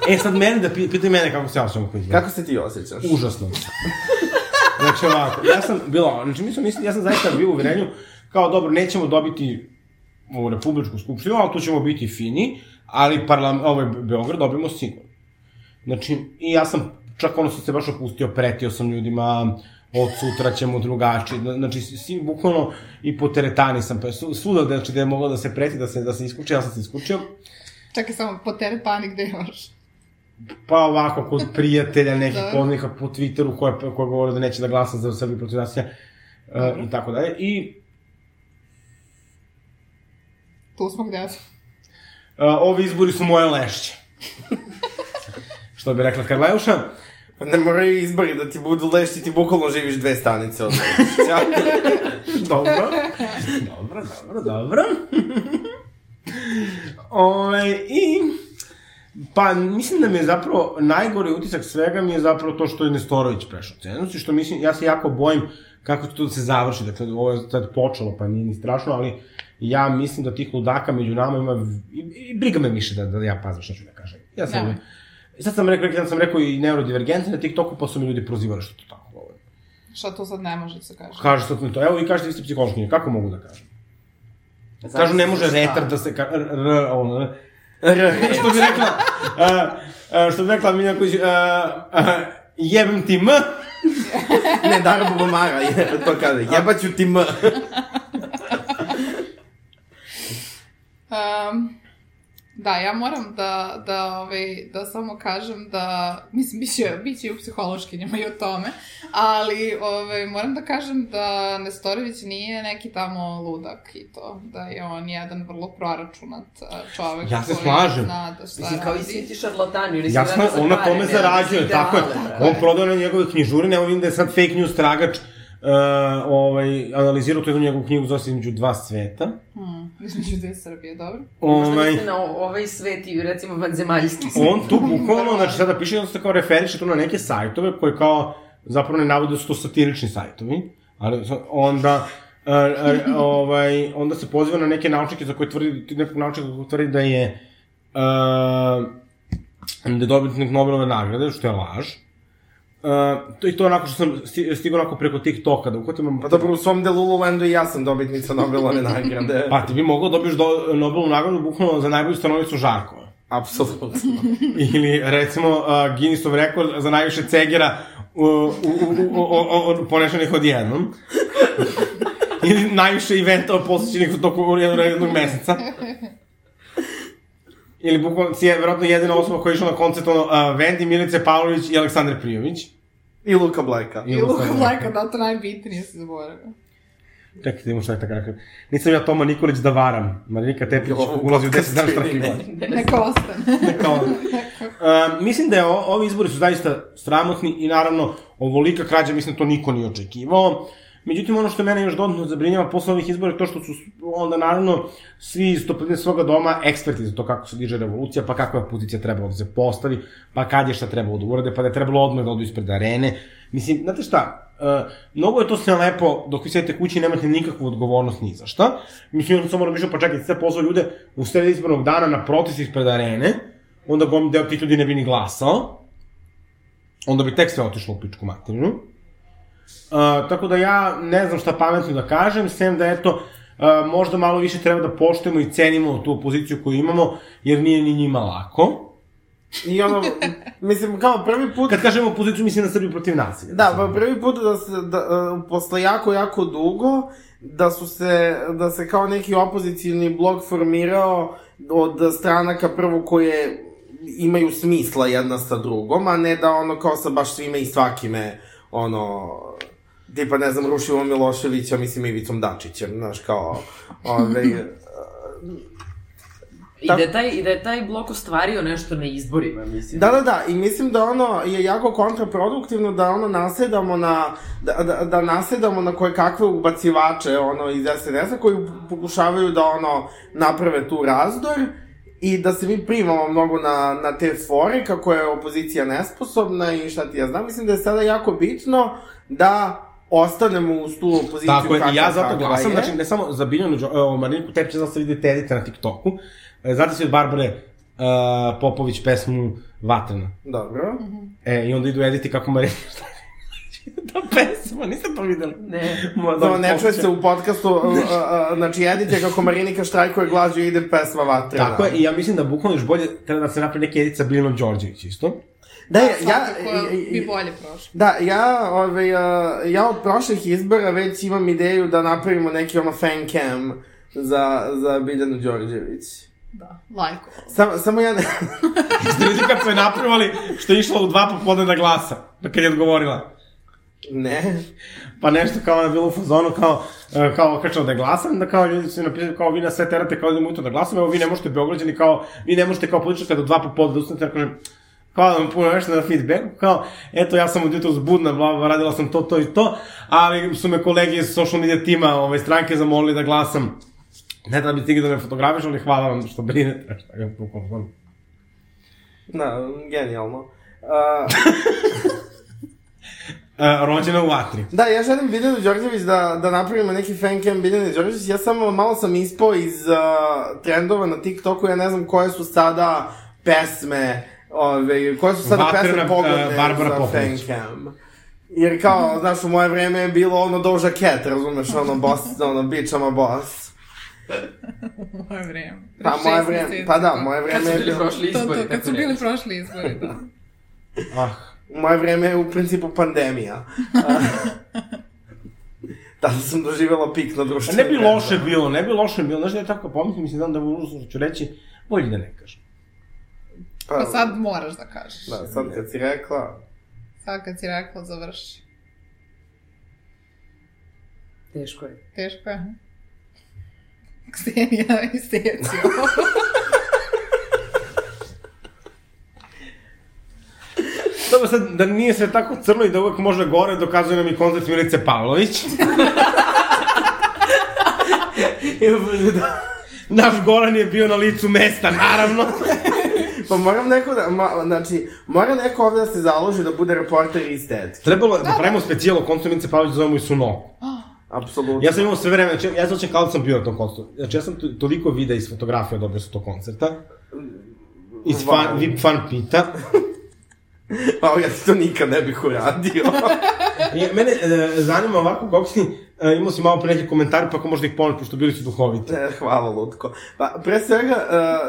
D: E, sad mene da pi- pitaj mene kako se ja sam koji
C: Kako se ti osjećaš?
D: Užasno. Znači ovako, ja sam bilo, znači mi smo mislili, ja sam zaista bio u uverenju, kao dobro, nećemo dobiti u Republičku skupštinu, ali tu ćemo biti fini, ali parlam, ovaj Be- Beograd dobijemo sigurno. Znači, i ja sam, čak ono sam se baš opustio, pretio sam ljudima, od sutra ćemo drugačije, zna- znači, svi, bukvalno, i po teretani sam, pa svu- svuda, znači, gde je moglo da se preti, da se, da se iskuči, ja sam se iskučio,
E: Čekaj samo, po teretani gde imaš?
D: pa ovako, kod prijatelja, nekih
E: Da.
D: poznanika po Twitteru koja, koja govore da neće da glasa za Srbiju protiv nasilja e, i tako dalje. I
E: Tu smo gde smo.
D: e, ovi izbori su moje lešće. Što bi rekla Karlajuša.
C: Pa ne moraju izbori da ti budu lešti, ti bukvalno živiš dve stanice od lešića.
D: Dobro. Dobro, dobro, dobro. Ove, I... Pa, mislim da mi je zapravo, najgori utisak svega mi je zapravo to što je Nestorović prešao cenzus i što mislim, ja se jako bojim kako će to da se završi, dakle, ovo je sad počelo, pa nije ni strašno, ali ja mislim da tih ludaka među nama ima, v- i, i briga me više da, da ja pazim šta ću da kažem. Ja sam,
E: Da.
D: da. sad sam rekao, ja sam rekao i neurodivergentni na TikToku, pa su mi ljudi prozivali što to tako govorim.
E: Šta tu sad ne može da se kaže?
D: Kaže sad mi to, evo vi kažete vi ste psihološkinje, kako mogu da kažem? Kažu ne može retar da se ka... R, r, ono, r, r, što bi rekla, uh, uh, što bi rekla Miljan Kujić, uh, uh, jebem ti m,
C: ne, Dara Bubamara je, to kada, jebaću ti m.
E: Um, da, ja moram da, da, ovaj, da samo kažem da, mislim, bit će, bit će i u psihološkinjama i o tome, ali ovaj, moram da kažem da Nestorović nije neki tamo ludak i to, da je on jedan vrlo proračunat a, čovek
D: Ja se
E: koji
D: slažem.
E: zna da šta
F: Mislim, kao i svi
E: radi.
F: ti šarlatani, oni
D: jasno,
F: rade za
D: on na
F: pare,
D: tome
F: ne rade za
D: zarađuje, tako je,
F: ideale, da.
D: on prodao na njegove knjižurine, evo vidim da je sad fake news tragač, Uh, ovaj, analizirao tu jednu njegovu knjigu zove se između dva sveta.
E: Hmm, između dve Srbije, dobro?
F: Možda
D: Onaj,
F: misli na o- ovaj svet i recimo vanzemaljski svet.
D: on tu bukvalno, znači sada piše, on se kao referiše tu na neke sajtove koje kao, zapravo ne navode da su to satirični sajtovi, ali sa- onda, e, e, ovaj, onda se poziva na neke naučnike za koje tvrdi, nekog naučnika koji tvrdi da je, uh, da je dobitnik Nobelove nagrade, što je laž. Uh, to, I to onako što sam sti- stigao onako preko TikToka, da uhvatim...
C: Pa dobro, u svom delu Landu i ja sam dobitnica Nobelove nagrade.
D: Pa ti bi mogao dobiješ do, Nobelovu nagradu bukvalno za najbolju stanovicu Žarkova.
C: Apsolutno.
D: Ili, recimo, uh, Guinnessov rekord za najviše cegera u, u, u, u, u, u, ponešenih odjednom. Ili najviše eventa posjećenih u toku jednog, jednog meseca. Ili bukvalno si je verovatno jedina osoba koja je išla na koncert ono, uh, Vendi, Milice Pavlović i Aleksandar Prijović.
C: I Luka Blajka.
E: I Luka
D: Luka-
E: Blajka, da, to najbitnije se zaboravio.
D: Čekaj, da imamo šta je tako rekao. Nisam ja Toma Nikolić da varam. Marinika Tepić ulazi u 10 dana štrahivanja.
E: Neka ostane.
D: kao... Uh, mislim da je o, ovi izbori su zaista sramotni i naravno ovolika krađa, mislim da to niko nije očekivao. Međutim, ono što mene još dodatno zabrinjava posle ovih izbora je to što su s- onda naravno svi iz topline svoga doma eksperti za to kako se diže revolucija, pa kakva je pozicija trebalo da se postavi, pa kad je šta trebalo da urade, pa da je trebalo odmah da odu ispred arene. Mislim, znate šta, uh, mnogo je to sve lepo dok vi sedite kući i nemate nikakvu odgovornost ni za šta. Mislim, ja sam moram išao, pa čekajte, sad pozvao ljude u sred izbornog dana na protest ispred arene, onda gom deo tih ljudi ne bi ni glasao, onda bi tek sve otišlo u pičku materinu. Uh, tako da ja ne znam šta pametno da kažem, sem da eto, uh, možda malo više treba da poštujemo i cenimo tu opoziciju koju imamo, jer nije ni njima lako.
C: I ono, mislim, kao prvi put...
D: Kad kažemo opoziciju, mislim na Srbiju protiv nasilja.
C: Da, pa prvi put da se, da, e, posle jako, jako dugo, da su se, da se kao neki opozicijni blok formirao od stranaka prvo koje imaju smisla jedna sa drugom, a ne da ono kao sa baš svime i svakime, ono, tipa, ne znam, Rušivom Miloševića, mislim, Ivicom Dačićem, znaš, kao, ove,
F: I da, je taj, I da je taj blok ostvario nešto na izborima, mislim.
C: Da, da, da, i mislim da ono je jako kontraproduktivno da ono nasedamo na, da, da, da nasedamo na koje kakve ubacivače ono iz SNS-a koji pokušavaju da ono naprave tu razdor i da se mi primamo mnogo na, na te fore kako je opozicija nesposobna i šta ti ja znam. Mislim da je sada jako bitno da ostanemo uz tu opoziciju
D: Tako je, i ja
C: kakva-
D: zato
C: kakva
D: glasam,
C: je.
D: znači ne samo za Biljanu Đo- o, Mariniku Tepić, zato se vidite edite na TikToku. E, Znate se od Barbare uh, Popović pesmu Vatrena.
C: Dobro.
D: E, i onda idu editi kako Marinika šta da pesma, niste to videli.
F: Ne.
D: Moja
C: Da,
D: dobra
C: ne čuje
D: pokušaj.
C: se u podcastu, a, a, a, znači jedite kako Marinika štrajkuje glađu i ide pesma Vatrena.
D: Tako je, i ja mislim da bukvalno još bolje treba da se napravi neka edica Biljanom Đorđević isto.
F: E,
C: Da, ja, ja,
E: Svakako bi bolje prošlo.
C: da, ja, ovaj, a, ja od prošlih izbora već imam ideju da napravimo neki ono fan cam za, za Biljanu Đorđević.
E: Da, lajko.
C: Samo, samo ja ne...
D: Ste vidi kad su je napravili što je išla u dva popodne da glasa, da kad je odgovorila.
C: ne.
D: Pa nešto kao je bilo u fazonu, kao, e, kao okačeno da glasam, da kao ljudi su mi napisali, kao vi na sve terate, kao idem ujutro da glasam, evo vi ne možete Beograđani, kao, vi ne možete kao politička do dva popodne da ustanete, ja kažem, hvala vam puno nešto na feedbacku, kao, eto, ja sam od jutra zbudna, bla, bla, radila sam to, to i to, ali su me kolege iz social media tima, ove, stranke zamolili da glasam. Ne da bi stigli da me fotografiš, ali hvala vam što brinete. Šta ga pukam, ono.
C: Da, genijalno. Uh, A,
D: E, rođena u vatri.
C: Da, ja želim Biljanu Đorđević da, da napravimo neki fan cam Biljane Đorđević. Ja samo malo sam ispao iz uh, trendova na TikToku, ja ne znam koje su sada pesme, ove, koje su sada
D: Vatrena,
C: pesme pogodne
D: e, Barbara
C: za fan
D: Popović.
C: cam. Jer kao, znaš, u moje vreme je bilo ono Doja Cat, razumeš, ono boss, ono bičama boss.
E: Moje vreme.
C: Pa,
E: Pre
C: moje
E: šest
C: vreme,
E: meseci,
C: pa da,
E: tako.
C: moje
F: Kad su
C: vreme je
F: bili
C: bilo...
F: prošli
E: To,
F: izbori,
E: to, kad su bili prošli izbori, da.
D: Ah,
C: Moje vreme je u principu pandemija. Tada sam doživjela pik na
D: A
C: društvenim
D: ne bi
C: mrežama.
D: loše bilo, ne bi loše bilo, znaš da je tako pomislim, mislim znam da u Rusu ću reći, bolje da ne kažem.
E: Pa sad moraš da kažeš.
C: Da, sad kad si rekla,
E: Sad kad si rekla, završi.
F: Teško je.
E: Teško je. Ksenija i Stevcio.
D: Dobro, sad, da nije sve tako crno i da uvek može gore, dokazuje nam i koncert Milice Pavlović. Naš Goran je bio na licu mesta, naravno.
C: Pa moram neko da, ma, znači, mora neko ovde da se založi da bude reporter iz tetke.
D: Trebalo je da pravimo specijal o koncertu Milice Pavlović, zovemo i Suno.
C: Apsolutno.
D: Ja sam imao sve vreme, znači, ja se očem kao da sam bio na tom koncertu. Znači, ja sam tu- toliko videa iz fotografija dobio sa tog koncerta. Iz fan,
C: Wow.
D: VIP fan pita.
C: Pa ja ti to nikad ne bih uradio.
D: Je, mene e, zanima ovako kako si, e, imao si malo pre neki komentari, pa ako možda ih ponoviti, pošto bili su duhoviti.
C: ne, hvala, Lutko. Pa, pre svega,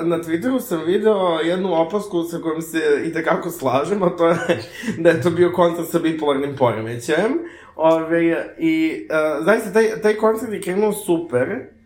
C: e, na Twitteru sam video jednu opasku sa kojom se i tekako slažem, a to je da je to bio koncert sa bipolarnim poremećajem. Ove, I, e, zaista, taj, taj koncert je krenuo super.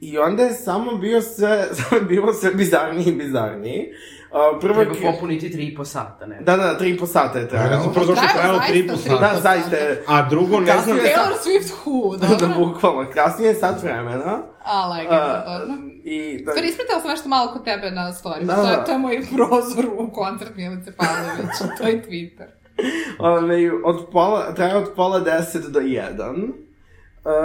C: I onda je samo bio sve, bilo sve bizarniji i bizarniji. Uh, prvo je...
F: Treba popuniti tri i po sata, ne?
C: Da, da, tri i po sata je
D: Ja
C: trajalo.
D: sam prvo došao
E: Trajao
D: trajalo
E: zaista
D: tri i po
E: tri.
D: sata.
C: Da, zaista je.
D: A drugo, ne
E: Da.
D: znam,
C: Kasnije-
E: Taylor Swift who,
C: Da, da,
E: dobro?
C: bukvalno. Kasnije je sat vremena.
E: A, legenda,
C: A,
E: dobro.
C: I, da,
E: Da. Stvari, ispratila sam nešto malo kod tebe na story.
C: Da,
E: Da, to,
C: da.
E: je, to je moj prozor u koncert Milice Pavlović. to je Twitter.
C: ove, od pola, traje od pola deset do jedan.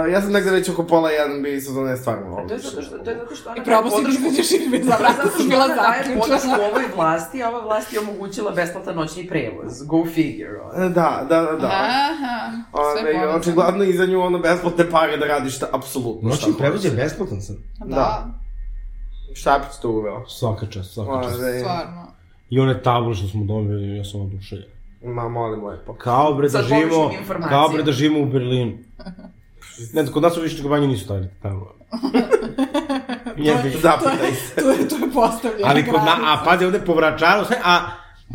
C: Uh, ja sam negde već oko pola jedan bio sa zone stvarno
F: A Da, To je
C: odlično.
F: zato što, to je zato što ona
E: I probao si da izađeš i Da, bez vrata
F: zato
E: si
F: što
E: bila
F: ona daje podršku
E: zaključena.
F: ovoj vlasti, a ova vlast je omogućila besplatan noćni prevoz. Go figure. ono.
C: Da, da, da, da.
E: Aha, sve
C: Ove,
E: povezano.
C: očigledno i za nju ono besplatne pare da radiš šta, apsolutno šta znači?
D: noćni prevoz je
C: hoćeš.
D: besplatan sam.
E: Da,
C: Šta bi ti to uveo?
D: Svaka čast, svaka čast.
C: Ove,
E: stvarno.
D: I one table što smo dobili, ja sam oduševljen.
C: ma molim lepo.
D: Kao bre da
F: Sad
D: živimo,
F: pogrešnim informacijama.
D: kao bre da živimo u Berlinu. Ne, znam, kod nas u Višnjeg banje nisu stavili table. Jebi. ga.
C: Zapitaj se.
E: To je, to je postavljeno.
D: Ali kod na, a pazi ovde po Vračaru, sve, a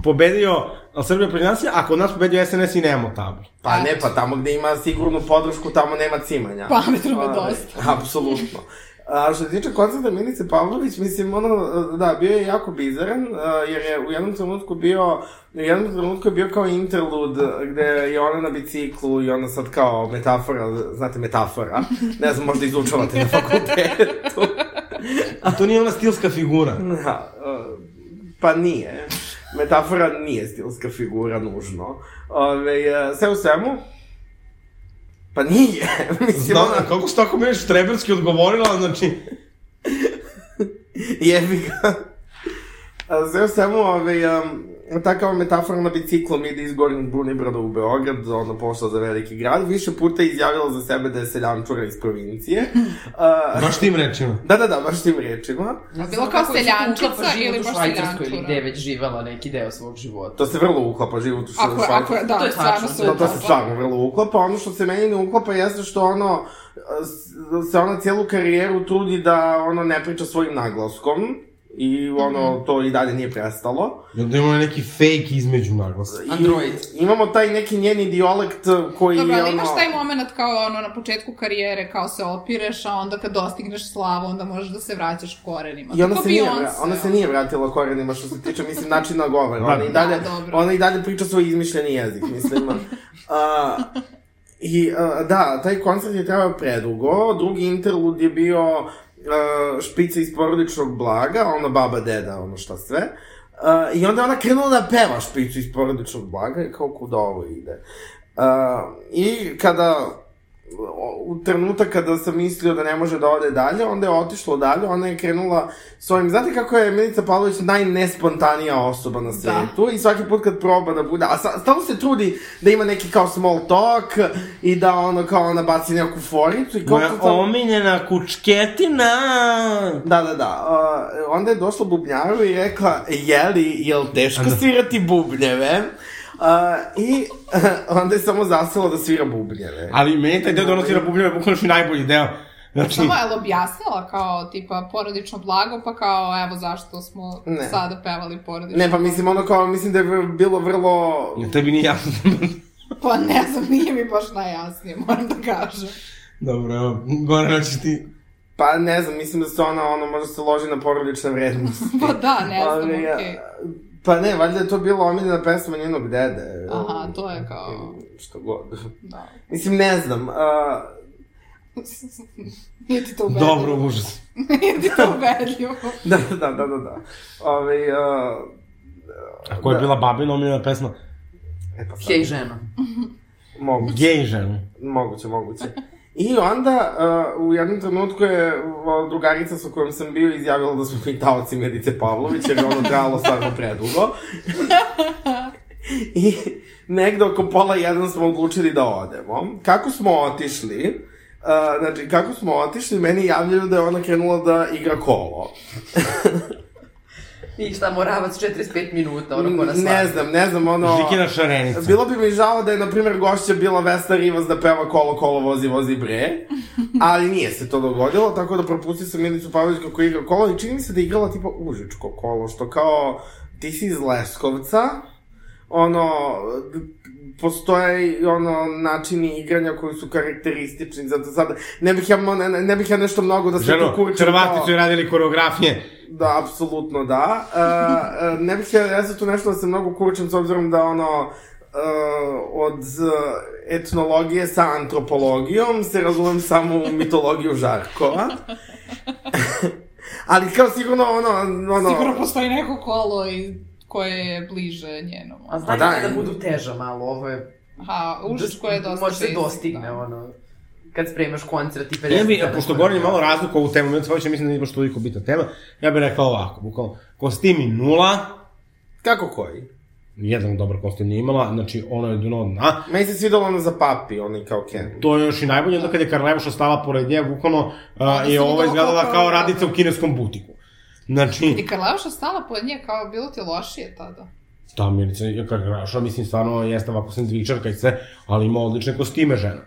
D: pobedio ali Srbija protiv nas, je, a kod nas pobedio SNS i nemamo tablu.
C: Pa ne, pa tamo gde ima sigurnu podršku, tamo nema cimanja.
E: Pametno
C: Pa,
E: me dosta.
C: Apsolutno. A što se tiče koncerta Milice Pavlović, mislim, ono, da, bio je jako bizaran, a, jer je u jednom trenutku bio, u jednom trenutku je bio kao interlud, gde je ona na biciklu i ona sad kao metafora, znate, metafora, ne znam, možda izučavate na fakultetu.
D: A to nije ona stilska figura.
C: Da, e, pa nije. Metafora nije stilska figura nužno. Ove, e, sve u svemu, pa nije. Mislim,
D: Znam,
C: ona,
D: kako si tako meni štreberski odgovorila, znači...
C: jebi ga. A, Sve u svemu, ove, um, ta kao metafora na biciklom ide iz Gornjeg Bunibrada u Beograd, ono pošla za veliki grad, više puta je izjavila za sebe da je seljančura iz provincije. A,
D: Baš tim rečima.
C: da, da, da, baš tim rečima.
E: A bilo kao seljančica ili baš
F: seljančura. Ili gde je
E: seljančura?
F: već živela neki deo svog života.
C: To se vrlo uklapa život u
E: Ako,
C: Švajcarskoj.
E: ako, da,
F: To je
E: stvarno
F: tačno,
E: se
C: Da, to se
E: uklapa.
C: stvarno vrlo uklapa. Ono što se meni ne uklapa jeste što ono, s- se ona cijelu karijeru trudi da ono ne priča svojim naglaskom. I ono, to i dalje nije prestalo.
D: I onda imamo neki fake između naglasa.
C: I
F: Android.
C: imamo taj neki njeni dijalekt koji
E: Dobro,
C: je
E: ali
C: ono...
E: imaš taj moment kao ono na početku karijere, kao se opireš, a onda kad dostigneš slavu, onda možeš da se vraćaš korenima.
C: I ona
E: Tako
C: se, nije,
E: Beyoncé,
C: vra- ona se
E: ono.
C: nije vratila korenima što se tiče, mislim, načina govora.
D: Da.
C: Ona i dalje,
E: Da, dobro.
C: ona i dalje priča svoj izmišljeni jezik, mislim. A, I, a, da, taj koncert je trajao predugo. Drugi interlud je bio a, špica iz porodičnog blaga, ono baba, deda, ono šta sve. A, I onda je ona krenula da peva špicu iz porodičnog blaga i kao kuda ovo ide. A, I kada o- u trenutak kada sam mislio da ne može da ode dalje, onda je otišlo dalje, ona je krenula s ovim, znate kako je Milica Pavlović najnespontanija osoba na svetu i svaki put kad proba da bude, a sa, stalno se trudi da ima neki kao small talk i da ono kao ona baci neku foricu i kao
D: Moja
C: sad-
D: omiljena kučketina!
C: Da, da, da. Uh, onda je došla bubnjaru i rekla, jeli, jel teško svirati bubnjeve? Uh, I onda je samo zasela da svira bubnjeve.
D: Ali meni taj deo donosira bubljeve, bukvalno je najbolji deo. Znači,
E: Samo je li objasnila kao tipa porodično blago, pa kao evo zašto smo
C: Ne.
E: sada pevali porodično
C: Ne, pa mislim, ono kao, mislim da je vr- bilo vrlo...
D: tebi nije jasno.
E: Pa ne znam, nije mi baš najjasnije, moram da kažem.
D: Dobro, evo, Goran, hoćeš ti...
C: Pa ne znam, mislim da se ona, ono, možda se loži na porodične vrednosti.
E: Pa da, ne znam,
C: Ali,
E: okej.
C: a, Pa ne, valjda je to bila omiljena pesma njenog dede.
E: Aha, to je kao,
C: Što god.
E: da.
C: Mislim, ne znam. a,
E: Nije ti to ubedljivo.
D: Dobro, užas.
E: Nije ti to ubedljivo.
C: da, da, da, da, da. Ove, a,
D: A koja je bila babina omiljena pesma?
C: e, pa sad,
F: Hej žena.
C: moguće.
D: Gej žena.
C: Moguće, moguće. I onda, uh, u jednom trenutku je uh, drugarica sa kojom sam bio izjavila da smo mi taoci Medice Pavlović, jer je ono trajalo stvarno predugo. I negde oko pola jedan smo odlučili da odemo. Kako smo otišli, uh, znači, kako smo otišli, meni javljaju da je ona krenula da igra kolo.
F: I šta, moravac 45 minuta, ono ko nas
C: ne znam, ne znam, ono...
D: Žikina šarenica.
C: Bilo bi mi žao da je, na primjer, gošća bila Vesna Rivas da peva kolo, kolo, vozi, vozi, bre. Ali nije se to dogodilo, tako da propustio sam Milicu Pavlović kako igra kolo i čini mi se da je igrala tipa užičko kolo, što kao ti si iz Leskovca, ono, postoje i ono načini igranja koji su karakteristični, zato sad ne bih ja, mo- ne, ne bih ja nešto mnogo da se
D: Ženo,
C: tu kurčim.
D: Hrvati
C: kao-
D: su joj radili koreografije.
C: Da, apsolutno da. E, e, ne bih ja, ja se tu nešto da se mnogo kurčim s obzirom da ono e, od e, etnologije sa antropologijom se razumem samo u mitologiju Žarkova. Ali kao sigurno ono... ono
E: Sigurno postoji neko kolo i koje je bliže njenom.
F: A
C: Pa da,
F: znate da,
C: i-
F: da budu teža malo, ovo je... da
E: Aha, užičko je dosta...
F: Može se
E: basic,
F: dostigne,
E: da.
F: ono. Kad spremaš koncert i 50...
D: Ja bi,
F: dana
D: pošto
F: korak.
D: Goran je malo razliku ovu temu, ja stvarno mislim da nije baš toliko bitna tema, ja bih rekao ovako, bukvalno, kostimi nula,
C: Kako koji?
D: jedan dobar kostim nije imala, znači ono je dno dna,
C: Meni se svidalo ono za papi, onaj kao Ken.
D: to je još i najbolje, onda kad je Karlevuša stala pored nje, bukvalno a,
E: Onda
D: je
E: sam
D: ova
E: videla
D: izgledala
E: kako-
D: kao radnica u kineskom butiku. Znači,
E: I Karleuša stala pod nje, kao bilo ti lošije tada.
D: ta Milica je Karlevuša, mislim, stvarno jeste ovako sandvičarka i sve, ali ima odlične kostime žena.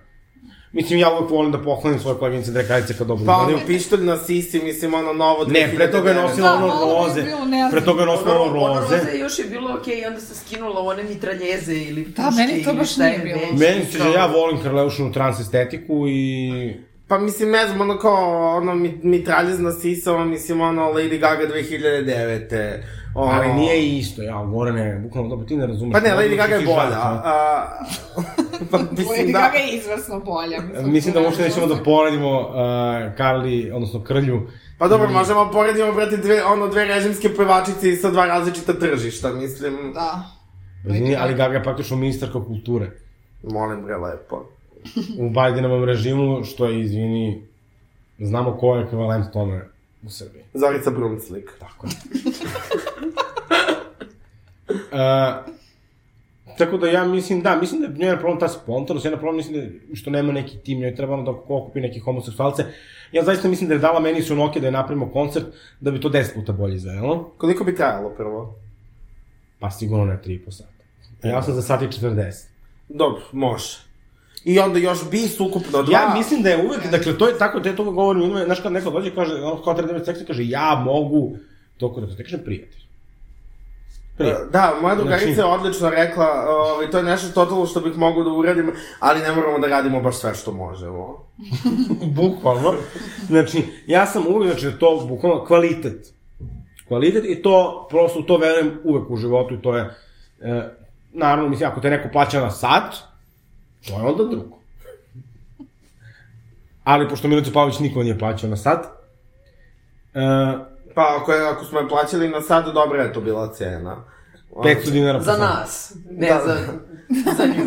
D: Mislim, ja uvek volim da pohvalim svoje koleginice Drekarice kad dobro
C: Pa
D: izgledaju.
C: ono pištolj na sisi, mislim ono novo...
D: Ne, pre toga je
C: 2009.
D: nosila
E: Da,
D: ono
E: malo bi
D: roze.
E: bilo nejasno.
D: Pre toga je nosila ono roze.
F: roze još je bilo okej, okay, onda se skinula one mitraljeze ili puške.
E: Da, meni to
F: ili
E: baš
F: šta je
E: nije bilo.
F: već.
D: Meni se,
F: Kao-
D: ja volim Karleušinu trans estetiku i...
C: Pa mislim, ne znam, ono kao, ono, mit- mitraljezna sisa, ono, mislim, ono, Lady Gaga 2009. Ono,
D: Ali nije isto, ja, Gorane, bukvalno dobro, ti ne razumeš.
C: Pa ne,
D: Možda
C: Lady Gaga je
D: si
C: bolja.
D: žrtva.
C: A, pa mislim
E: Lady
C: da...
E: Gaga je izvrsno bolja.
D: Mislim da uopšte
E: možda
D: nećemo da poredimo uh, Karli, odnosno Krlju,
C: Pa dobro, možemo poredimo, brate, dve, ono, dve režimske pevačice sa dva različita tržišta, mislim.
E: Da.
D: Izvini, ali Gaga je praktično ministarka kulture.
C: Molim, bre, lepo.
D: U Bajdenovom režimu, što je, izvini, znamo ko je ekvivalent tome u Srbiji.
C: Zorica Brumslik.
D: Tako je. E, tako da ja mislim, da, mislim da je njena problem ta spontanost, njena problem mislim da je što nema neki tim, njoj treba ono da okupi neke homoseksualce. Ja zaista mislim da je dala meni su noke da je napravimo koncert, da bi to 10 puta bolje izgledalo.
C: Koliko bi trajalo prvo?
D: Pa sigurno ne 3,5 sata. A E, ja sam za sat i 40.
C: Dobro, može. I onda još bis ukupno dva.
D: Ja mislim da je uvek, dakle, to je tako, ja to uvek govorim ljudima, znaš kad neko dođe i kaže, ono, kao treba da imati seksa, kaže, ja mogu, toliko da to, ja kažem, prijatelj. Prijatelj.
C: Da, moja drugarica
D: Znači-
C: je odlično rekla, ovaj, to je nešto totalno što bih mogao da uradim, ali ne moramo da radimo baš sve što možemo.
D: bukvalno. Znači, ja sam uvek, znači, da to bukvalno kvalitet. Kvalitet i to, prosto u to verujem uvek u životu i to je, e, naravno, mislim, ako te neko plaća na sat, to je onda drugo. Ali, pošto Milicu Pavlić niko nije plaćao na sat, e,
C: Pa ako, je, ako smo je plaćali na sad, dobra je to bila cena.
D: 500 dinara po
F: Za
D: satu.
F: nas, ne
C: Da.
F: za, za nju.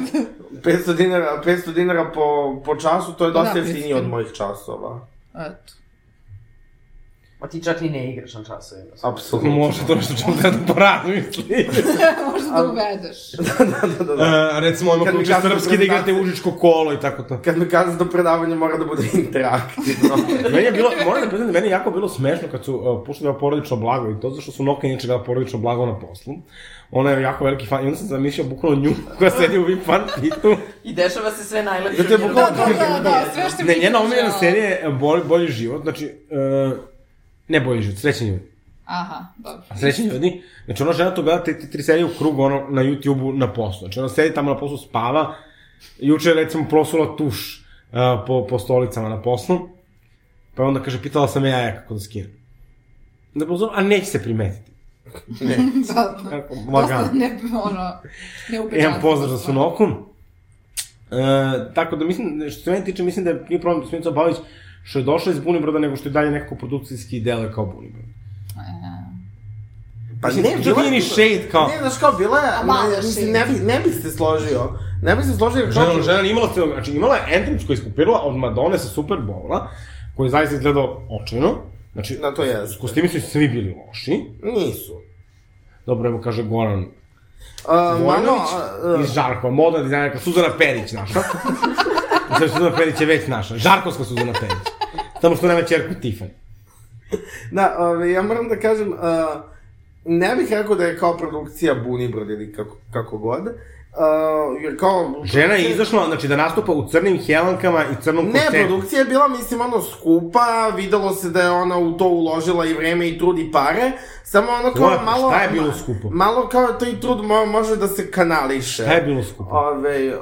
C: 500 dinara, 500 dinara po, po času, to je dosta da,
E: Da, 500
C: jeftinije od mojih časova.
E: Eto.
F: A ti čak i ne igraš na časovima.
C: Apsolutno.
D: Može to nešto čemu treba da porazmisli.
E: Možda da uvedeš.
C: da, da, da, da.
D: E, recimo, ono
C: Kad
D: koji
C: mi
D: uče
C: kažu
D: srpski da igrate
C: prezentacije.
D: užičko kolo i tako to.
C: Kad mi kažeš da predavanje mora da bude interaktivno.
D: Meni je bilo, moram da priznam, meni je jako bilo smešno kad su uh, puštali ovo porodično blago i to zašto su Noka inače gledala porodično blago na poslu. Ona je jako veliki fan i onda sam zamišljao bukvalno nju koja sedi u VIP fan pitu.
F: I dešava se sve najlepše.
C: Zato je
F: u njenom
C: bukvalno-
E: Da, da, da, sve što
D: Ne,
E: mi da.
D: njena omiljena
E: pričala.
D: serija je bolji, bolji život, znači, uh, ne bolji život, srećni ljudi.
E: Aha, dobro.
D: Srećni ljudi. Znači, ona žena to gleda te, te tri serije u krug, ono, na YouTube-u, na poslu. Znači, ona sedi tamo na poslu, spava. Juče je, recimo, prosula tuš uh, po, po stolicama na poslu. Pa je onda kaže, pitala sam ja ja kako da skinem. Da pozor, a neće se primetiti.
E: Da, da.
D: Kako,
E: Dosta
D: lagano.
E: ne, ono, neupečan.
D: Imam pozdrav za Sunoku. E, tako da mislim, što se mene tiče, mislim da je nije problem Smica Bavić što je došla iz Bunibroda nego što je dalje nekako produkcijski delo kao Bunibrod.
C: Pa
D: Mislim, to
C: bila-
D: nije ni shade, kao-
C: Ne, znaš kao, bila je...
E: A malo
C: ne,
E: je
C: mislim,
E: shade.
C: Ne, bi, ne bih se složio. Ne bih se složio. jer
D: Žena,
C: kao-
D: žena nije imala celo, znači imala je entrance koji je skupirala od Madone sa Super Bowla, koji je zaista izgledao očajno. Znači,
C: Da, to jeste.
D: Kostimi su svi bili loši.
C: Nisu.
D: Dobro, evo kaže Goran
C: Uh,
D: Vojnović
C: uh,
D: iz Žarkova, modna dizajnerka Suzana Perić naša. Znači, Suzana Perić je već naša. Žarkovska Suzana Perić. Samo što nema čerku Tiffany.
C: Da, ovaj, ja moram da kažem, uh, ne bih rekao da je kao produkcija Bunibrod ili kako, kako god, uh, jer kao...
D: Žena je izašla, znači da nastupa u crnim helankama i crnom
C: Ne,
D: koštetu.
C: produkcija je bila, mislim, ono, skupa, videlo se da je ona u to uložila i vreme i trud i pare, samo ono kao
D: Koja-
C: malo...
D: šta je bilo skupo?
C: Malo kao to i trud mo- može da se kanališe.
D: Šta je bilo skupo?
C: Ove,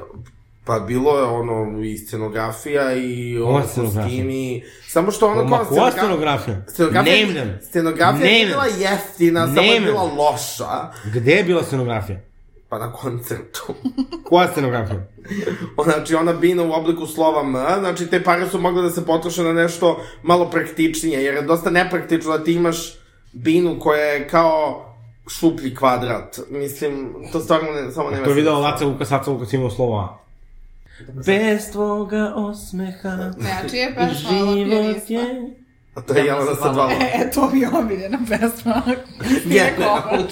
C: pa bilo je ono i scenografija i
D: Ova
C: ono
D: scenografija.
C: kostimi. Samo što ono
D: Ma
C: kao
D: koja
C: scenografija...
D: scenografija?
C: Scenografija,
D: Nemljam.
C: scenografija je
D: Nemljam.
C: bila jeftina, samo je
D: Nemljam.
C: bila loša.
D: Gde je bila scenografija?
C: Pa na koncertu.
D: Koja scenografija?
C: znači, ona bina u obliku slova M, znači te pare su mogle da se potroše na nešto malo praktičnije, jer je dosta nepraktično da ti imaš binu koja je kao šuplji kvadrat. Mislim, to stvarno ne, samo nema
D: To je video
C: smisla.
D: Laca Lukas, Laca Lukas imao slovo A. Bez tvoga osmeha
E: Ne, a čija je pesma ova pijanista?
C: A to je da Jelena sa dva
E: E, E, to mi je omiljena pesma.
C: Je.
E: Kristina Kovač.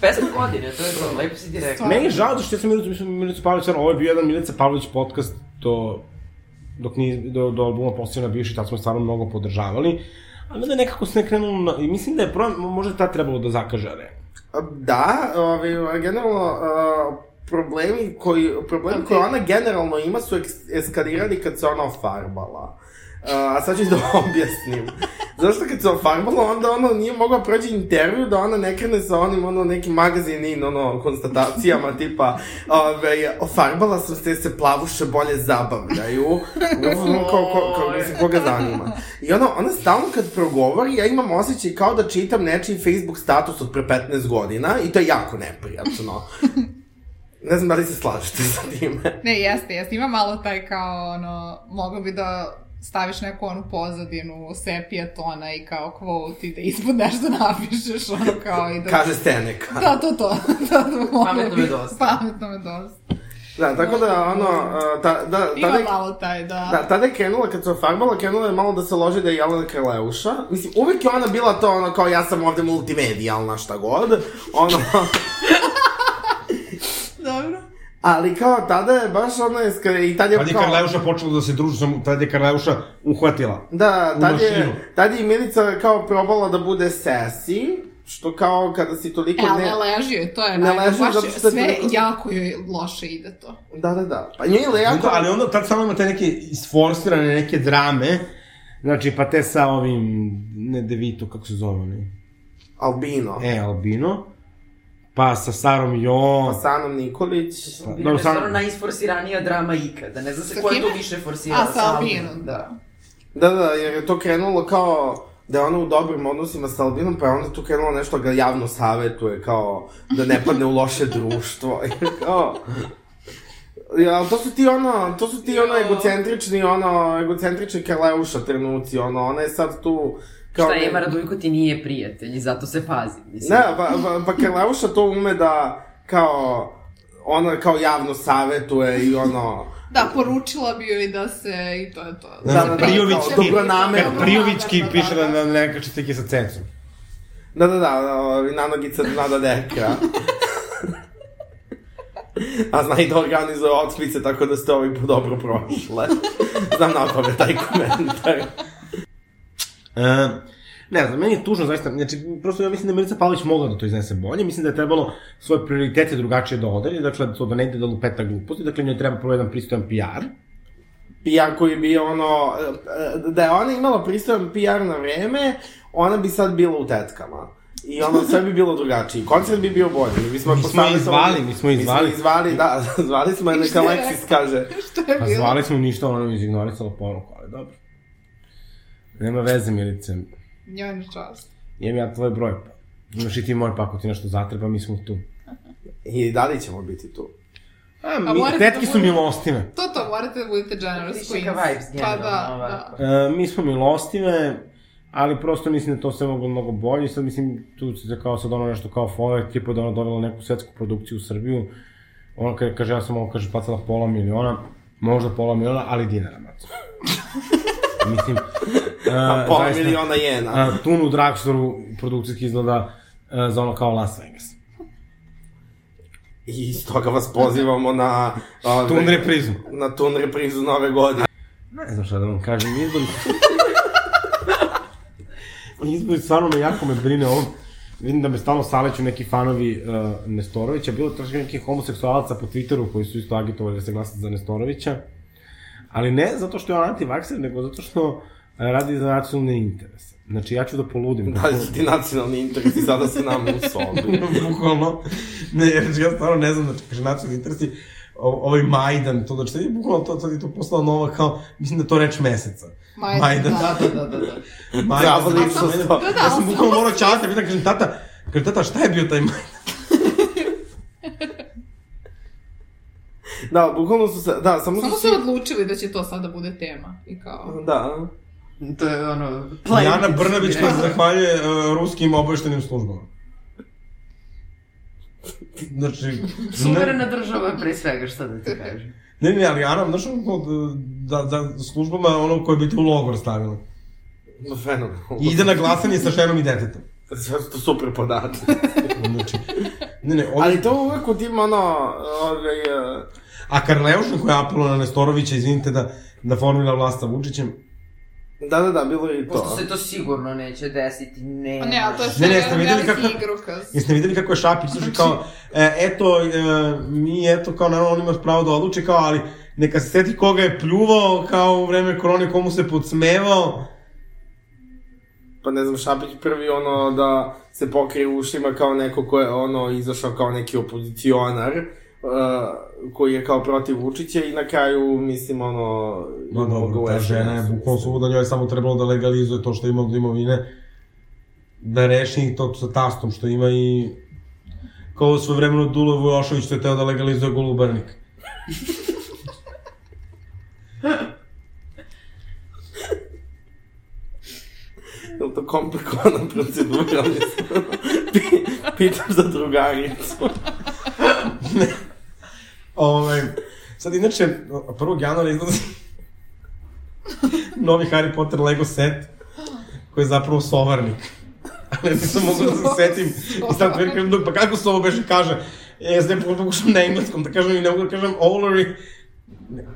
F: Pesma godine, to je to, lepo si ti rekao.
D: Meni je žao da što ja sam Milicu, mislim, Milicu Pavlić, stvarno, ovo je bio jedan Milica Pavlić podcast do, dok nije, do, do albuma Postojena bivši, tad smo je stvarno mnogo podržavali. Ali onda je nekako se ne krenulo na, i mislim da je problem, možda je tad trebalo da zakaže arena.
C: Da, ovaj, generalno, uh, problemi koji, problemi koje ona generalno ima su eks- eskalirali kad se ona ofarbala. Uh, a sad ću da objasnim. Zašto kad se ofarbala, onda ono nije mogla prođe intervju da ona ne krene sa onim ono nekim magazinin ono konstatacijama tipa ove, ofarbala sam se, se plavuše bolje zabavljaju. Ono, kao, ko, kao, mislim, koga zanima. I ona, ona stalno kad progovori, ja imam osjećaj kao da čitam nečiji Facebook status od pre 15 godina i to je jako neprijatno. Ne znam da li se slažete sa time.
E: Ne, jeste, jeste. Ima malo taj kao, ono, mogla bi da staviš neku onu pozadinu sepija tona i kao quote i da ispod nešto napišeš ono kao i da...
C: Kaže Seneca.
E: Da, to, to. da, da, da,
F: Pametno me dosta.
E: Pametno me dosta.
C: Da, tako da, ono, a, ta, da,
E: Ima
C: tada, je-
E: malo taj, da.
C: da, tada je krenula, kad se ofarbala, krenula je malo da se loži da je Jelena Krleuša. Mislim, uvek je ona bila to, ono, kao ja sam ovde multimedijalna, šta god. Ono,
E: Dobro.
C: ali kao tada je baš ono, je skre- i tada je
D: Tad je Karleuša počela da se druži, sam, tad je Karleuša uhvatila.
C: Da,
D: u
C: tad
D: mašinu.
C: je, tad je i Milica kao probala da bude sassy, što kao kada si toliko
E: E, ali
C: Pa ne...
E: ne leži joj, to je
C: Ne
E: najbolje.
C: leži
E: Baš
C: zato
E: je-
C: što je
E: sve
C: toliko-
E: jako joj loše ide to.
C: Da, da, da. Pa nije li jako...
D: Da, ali onda tad samo ima te neke isforsirane neke drame, znači pa te sa ovim, ne Devito, kako se zove oni,
C: Albino.
D: e, Albino, pa sa Sarom Jo,
C: Pa Sanom Nikolić.
D: Pa,
F: Bilo je
D: dobro, sam-
F: stvarno najisforsiranija drama ikada. Ne znam se
E: Sa
F: ko je to
E: kime?
F: više forsirao.
E: A, sa Albinom,
F: Albinom, Da.
C: Da, da, jer je to krenulo kao da je ona u dobrim odnosima sa Albinom, pa je onda tu krenulo nešto ga javno savetuje, kao da ne padne u loše društvo. I kao... Ja, ali to su ti ono, to su ti ono
F: Jo.
C: egocentrični, ono, egocentrični Karleuša trenuci, ono, ona je sad tu... Kao
F: Šta je,
C: ne-
F: Ema Radujko ti nije prijatelj i zato se pazi. Mislim.
C: Ne, pa, pa, pa Karleuša to ume da kao, ona kao javno savetuje i ono...
E: Da, poručila bi joj da se, i to je to.
C: Da,
D: da,
E: se
C: da,
D: da,
C: da,
E: prijatelj-
C: kao
D: Prijovićki,
C: dobronamerno.
D: kad Prijovićki
E: Da, da, da,
D: piše da
E: da.
D: na neka četike sa censom.
C: Da, da, da, da, ovi, nanogica Nada Deka. A zna i da organizuje otpice, tako da ste ovi dobro prošle. Znam na pamet taj komentar.
D: E, ne znam, meni je tužno zaista, znači, prosto ja mislim da je Milica Pavlović mogla da to iznese bolje, mislim da je trebalo svoje prioritete drugačije da odredi, dakle, to da ne ide da lupeta gluposti, dakle, njoj treba prvo jedan pristojan PR,
C: PR koji bi ono, e, da je ona imala pristojan PR na vreme, ona bi sad bila u tetkama. I ono, sve bi bilo drugačije. Koncert bi bio bolji. Mi, bismo je
D: Mi smo
C: postavili
D: je
C: samo-
D: izvali, mi smo je izvali.
C: Mi smo je izvali, da, zvali smo je, neka
E: Šta je
C: Alexis kaže.
E: Što je
D: Pa
E: bilo?
D: zvali smo ništa, ona mi izignorisala poruku, ali dobro. Nema veze, Milice.
E: Njoj ne čast.
D: Jem ja tvoj broj. pa. Imaš i ti moj, pa ako ti nešto zatreba, mi smo tu.
C: I da li ćemo biti tu?
D: A,
E: A
D: mi,
E: morate
D: tetke
E: da
D: su
E: bude-
D: milostive.
E: To to, morate da budete generous
F: Više
E: queens.
F: ka vibes
E: Pa
F: generalno,
E: da,
F: ovako.
E: da.
D: E, mi smo milostive, ali prosto mislim da to sve moglo mnogo bolje. Sad mislim, tu se kao sad ono nešto kao fove, tipa da ona dovela neku svetsku produkciju u Srbiju. Ona kaže, kaže ja sam ovo, kaže, platila pola miliona, možda pola miliona, ali dinara, maco. mislim,
C: A
D: e,
C: pola
D: zaista-
C: miliona jena.
D: a, Tunu Draxoru produkcijski izgleda a, za ono kao Las Vegas.
C: I stoga vas pozivamo na... ove,
D: Tun reprizmu.
C: Na tun reprizu nove godine.
D: Ne znam šta da vam kažem, izbori... izbori stvarno me jako me brine ovo. Vidim da me stalno saleću neki fanovi uh, Nestorovića, bilo je traži nekih homoseksualaca po Twitteru koji su isto agitovali da se glasa za Nestorovića. Ali ne zato što je on antivakser, nego zato što uh, radi za nacionalne interese. Znači ja ću da poludim.
C: Da li su ti nacionalni interesi sada sa nama u sobi?
D: bukvalno, ne, jer ja stvarno ne znam, znači, kaže, nacionalni interesi, o- ovaj Majdan, to, znači, sad je bukvalno to, sad je to postala nova, kao, mislim da je to reč meseca.
E: Majdan, da.
F: Da,
D: Ja,
F: da, da, da.
D: Majdan,
C: Zabavno
D: znači,
C: što
D: Majdan.
C: sto-
E: Da, da,
D: ja sam
E: ali
D: bukvalno morao časti, pitan, kažem, tata, kažem, tata, šta je bio taj Majdan?
C: Da, bukvalno su se... Da, samo,
E: Samo
C: su...
E: su odlučili da će to sad da bude tema. I kao...
C: Da.
F: To je ono... Pa da.
D: Jana Brnabić koja se zahvaljuje uh, ruskim obaveštenim službama. Znači, ne-
F: Suverena država pre svega, šta da ti kažem.
D: ne, ne, ali Jana, znaš, ono, da, da službama ono koje bi te u logor stavila.
C: No, fenomenalno.
D: I ide na glasanje sa ženom i detetom.
C: Sve su to super podaci.
D: Znači, ne, ne, ovdje...
C: Ali to uvek u tim, ono... ovaj, eh, Ove,
D: A Karleuša koja apeluje na Nestorovića, izvinite da, da formira vlast sa Vučićem.
C: da, da, da, bilo je i
F: Pošto
C: to.
F: se to sigurno neće desiti, ne.
E: Pa ne, ali to je
D: Ne,
E: sve
D: ne, jeste videli
E: veliki
D: kako-
E: igrokaz.
D: Jeste videli kako je Šapić služi kao, e, eto, e, mi, eto, kao, naravno, on ima pravo da odluči, kao, ali neka se seti koga je pljuvao, kao, u vreme korone, komu se podsmevao.
C: Pa ne znam, Šapić prvi ono da se pokrije u ušima kao neko ko je ono izašao kao neki opozicionar uh, koji je kao protiv Vučića i na kraju mislim ono...
D: No, dobro, ta žena je bukvalno svuda, njoj je samo trebalo da legalizuje to što ima od imovine, da reši to sa tastom što ima i kao svoje vremeno Dulo Vujošović što je teo da legalizuje Golubarnik.
C: dosta komplikovana procedura. ali sam- Pi- Pitam za drugaricu.
D: Ovaj, sad inače, 1. januara izlazi novi Harry Potter Lego set, koji je zapravo sovarnik. Ali ja nisam mogu da se setim. I sad prvi krenem dok, pa kako se ovo beše kaže? E, ja sam pokušam na engleskom da kažem i ne mogu da kažem olary.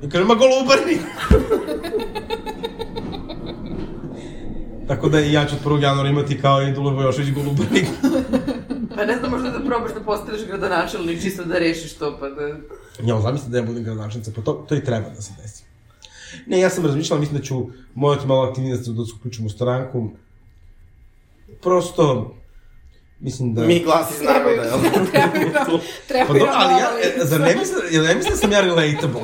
D: I kažem, ma golubarnik. Tako da i ja ću od 1. januara imati kao i Dule Vojošević golubarnik.
F: Pa ne znam, možda da probaš da postaneš gradonačelnik čisto da rešiš to, pa da...
D: Ja, zamisli da ja budem gradonačelnica, pa to, to i treba da se desi. Ne, ja sam razmišljala, mislim da ću morati malo aktivnije da se da se uključim u stranku. Prosto, mislim da...
C: Mi glasi iz naroda, jel?
E: Trebaju nam,
D: Pa
E: trebaju
D: dobro,
E: nam
D: ali ja,
E: mala
D: e,
E: lica.
D: zar ne mislim, jel ne mislim da sam ja relatable?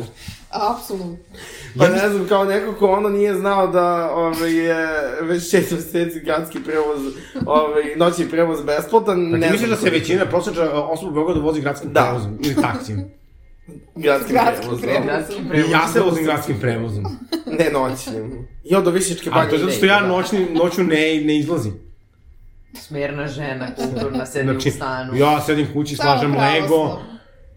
E: Apsolutno.
C: Pa ne znam, kao neko ko ono nije znao da ovaj, je već šest meseci gradski prevoz, ovaj, noćni prevoz besplatan.
D: Pa ti
C: ne
D: misliš da
C: znam
D: se većina prosječa osoba u Beogradu vozi gradskim
C: Da.
D: prevozom ili taksijem?
C: Gradski,
E: Gradski
C: prevoz,
E: prevoz.
C: da.
F: Gradski
D: I
F: prevoz.
D: ja se vozim gradskim prevozom.
C: Ne noćni. Jo, do Višičke banje.
D: A to je zato što
C: ne
D: ja
C: idem, da.
D: noćni, noću ne, ne izlazim. Znači,
F: Smerna žena, kulturna, sedi u stanu.
D: ja sedim kući,
E: Samo
D: slažem
E: pravo
D: Lego.
E: slovo.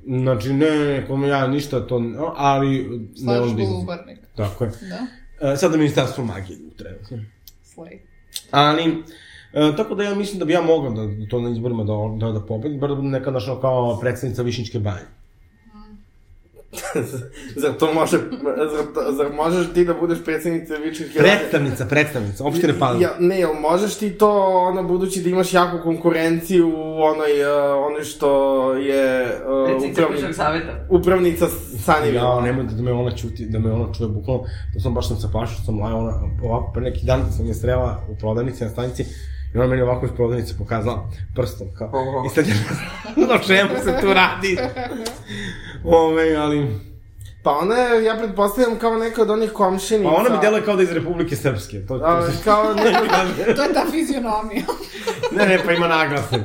D: Znači, ne, ne, ne, ja ništa to, ne- ali ne
E: Slažeš
D: volim da izlazim.
E: golubarnik.
D: Tako je.
E: Da,
D: E, Sada ministarstvo magije trenutno.
E: slej.
D: Ali, e, tako da ja mislim da bi ja mogao da to na izborima da, da, da pobedim, bar da budem neka naša kao predsednica Višničke banje.
C: zar to može, zar, to- zar možeš ti da budeš predsednica Vičičke
D: Predstavnica, predstavnica, opštine Palma.
C: Ja, ne, jel možeš ti to, ono, budući da imaš jaku konkurenciju u onoj, uh, onoj što je uh,
F: Predsjednica
C: upravni,
F: kućnog saveta.
C: upravnica Sanivila.
D: Ja, nemojte da me ona čuti, da me ona čuje bukvalno, da sam baš sam se plašio, što sam lajao ona, ovako, pre neki dan sam je srela u prodavnici na stanici, i ona meni ovako iz prodavnice pokazala prstom, kao,
F: Oho.
D: i sad ja ne znam o čemu se tu radi. Ove, ali,
C: Pa ona je, ja pretpostavljam, kao neka od onih
D: pa
C: komšinica.
D: ona mi deluje kao da je iz Republike Srpske, to, to
C: A, kao neko,
E: To je ta fizionomija.
D: ne, ne, pa ima naglasak,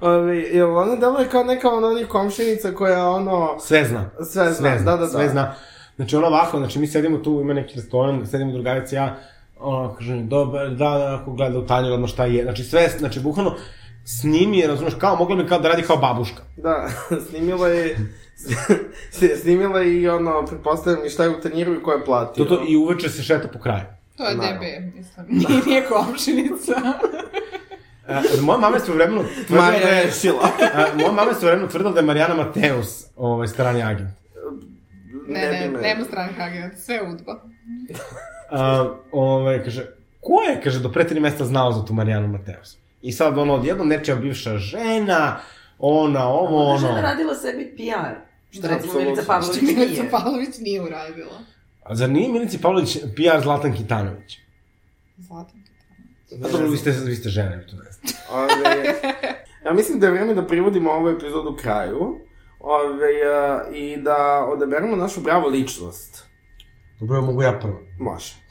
C: ove, jel ona deluje kao neka od onih komšinica koja ono...
D: sve zna.
C: Sve zna, da, da,
D: sve
C: da.
D: zna. Znači ono ovako, znači mi sedimo tu, ima neki restoran, sedimo drugarica i ja, ono kaže, dobar dan, ako gleda u tanjer, odmah šta je. Znači sve, znači bukvalno s njim je, razumeš, kao mogla bi kao da radi kao babuška.
C: Da, snimila je... s- snimila je i ono, pretpostavljam i šta je u tanjiru i ko je platio.
D: To, to, I uveče se šeta po kraju.
E: To je
C: Naravno.
E: DB, mislim. Nije, nije komšinica.
D: E, moja mama je svojevremeno tvrdila da
C: Marija
D: je...
C: rešila.
D: E, moja mama je svojevremeno tvrdila da je Marijana Mateus ovaj, strani agent.
E: Ne,
C: bi
E: ne,
C: me-
E: nema stranih agenta, sve je udba.
D: A, ovaj, kaže, ko je, kaže, do pre tri mesta znao za tu Marijanu Mateus? I sad ono, odjednom nečija bivša žena, ona, ovo,
F: Ona
D: ono...
F: žena radila sebi PR. Što recimo
C: Apsolutno.
F: Milica Pavlović
E: Što Milica
F: nije.
E: Pavlović nije uradila.
D: A zar nije Milici Pavlović PR Zlatan Kitanović?
E: Zlatan.
D: A dobro, vi ste, vi ste žene, vi to ne znate.
C: Ove, ja mislim da je vreme da privodimo ovu epizodu kraju ove, a, i da odaberemo našu bravo ličnost.
D: Dobro, mogu ja prvo.
C: Može.
D: A,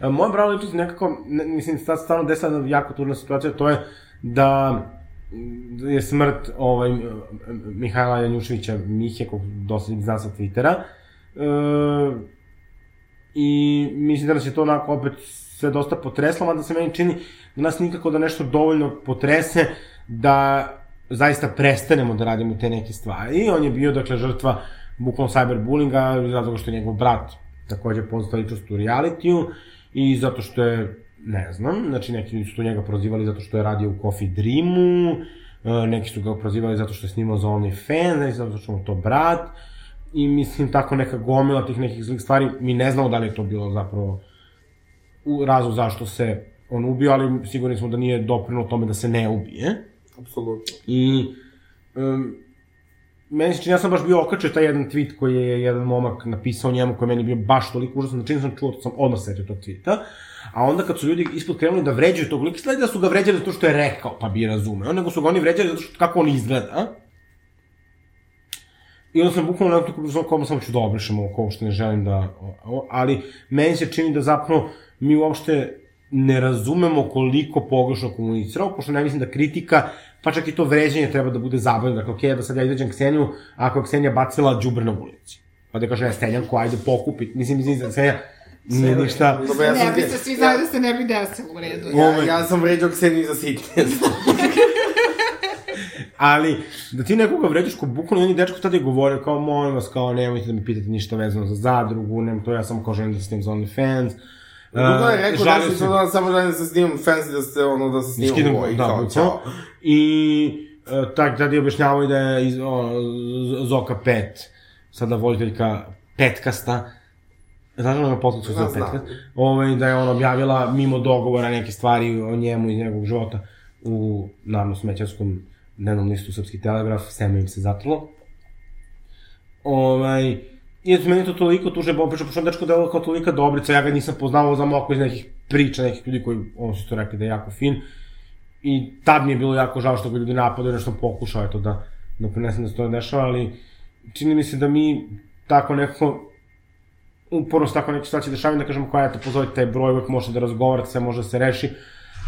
D: E, Moja brava ličnost je nekako, ne, mislim, sad stvarno desila jedna jako turna situacija, to je da da je smrt ovaj, m- m- Mihajla Janjuševića Mihe, kog dosta ljudi zna sa Twittera. E, I mislim da nas je to onako opet sve dosta potreslo, mada se meni čini da nas nikako da nešto dovoljno potrese da zaista prestanemo da radimo te neke stvari. I on je bio, dakle, žrtva bukvalno cyberbullinga, zato što je njegov brat takođe poznata ličnost u realitiju i zato što je, ne znam, znači neki ljudi su tu njega prozivali zato što je radio u Coffee Dreamu, e, neki su ga prozivali zato što je snimao za OnlyFans, neki zato što mu to brat, i mislim tako neka gomila tih nekih zlih stvari, mi ne znamo da li je to bilo zapravo u razlog zašto se on ubio, ali sigurni smo da nije doprinulo tome da se ne ubije.
C: Apsolutno.
D: I um, meni se čini, ja sam baš bio okačio taj jedan tweet koji je jedan momak napisao njemu koji je meni bio baš toliko užasan, znači nisam čuo, to sam odmah setio tog tweeta. A onda kad su ljudi ispod krenuli da vređaju tog lika, sledi da su ga vređali zato što je rekao, pa bi je razumeo, nego su ga oni vređali zato što kako on izgleda. I onda sam bukvalno nekako bilo kao samo ću da obrišem ovo, kao uopšte ne želim da... ovo, Ali meni se čini da zapravo mi uopšte ne razumemo koliko pogrešno komuniciramo, pošto ne mislim da kritika, pa čak i to vređanje treba da bude zabavno. Dakle, okej, da sad ja izveđam Kseniju, e, ako je Ksenija bacila džubre na ulici. Pa da kaže, ja Stenjanko, ajde pokupi. Mislim, mislim, Ksenija, Ni, ništa.
C: Dobro, ja sam...
E: Ne bi se
C: vre-
E: svi znali da se ne bi desilo u redu.
C: Ja, ja sam vređao Kseniju za sitnje.
D: Ali, da ti nekoga vređaš ko bukvalno, on je dečko tada je govorio kao, molim vas, kao, nemojte da mi pitate ništa vezano za zadrugu, nem to, ja samo kao želim da snim za OnlyFans.
C: Dugo je
D: E,
C: rekao da
D: žalio
C: se
D: se-
C: to samo želim da se snimam fancy da se ono da se snimam
D: Skidam,
C: boji.
D: da,
C: kao,
D: bukvalno.
C: ćao.
D: I e, tak, tada je objašnjavao i da je iz, o, Z- Zoka Pet, sada voditeljka Petkasta, Znaš ono na podcastu
C: Znam,
D: za
C: znam.
D: Petkast? Ovaj, da je ona objavila mimo dogovora neke stvari o njemu i njegovog života u, naravno, smećarskom dnevnom listu Srpski telegraf, seme im se zatrlo. Ovaj, I eto, meni je to toliko tužno, bo pričao, pošto on dečko delo kao tolika dobrica, ja ga nisam poznavao, znam oko iz nekih priča, nekih ljudi koji, ono su to rekli da je jako fin. I tad mi je bilo jako žao što ga ljudi napadaju, nešto sam pokušao, eto, da, da prenesem da se to ne dešava, ali čini mi se da mi tako nekako uporno se tako neke situacije dešavaju, da kažemo koja, eto, pozovite taj broj, uvek možete da razgovarate, sve može da se reši,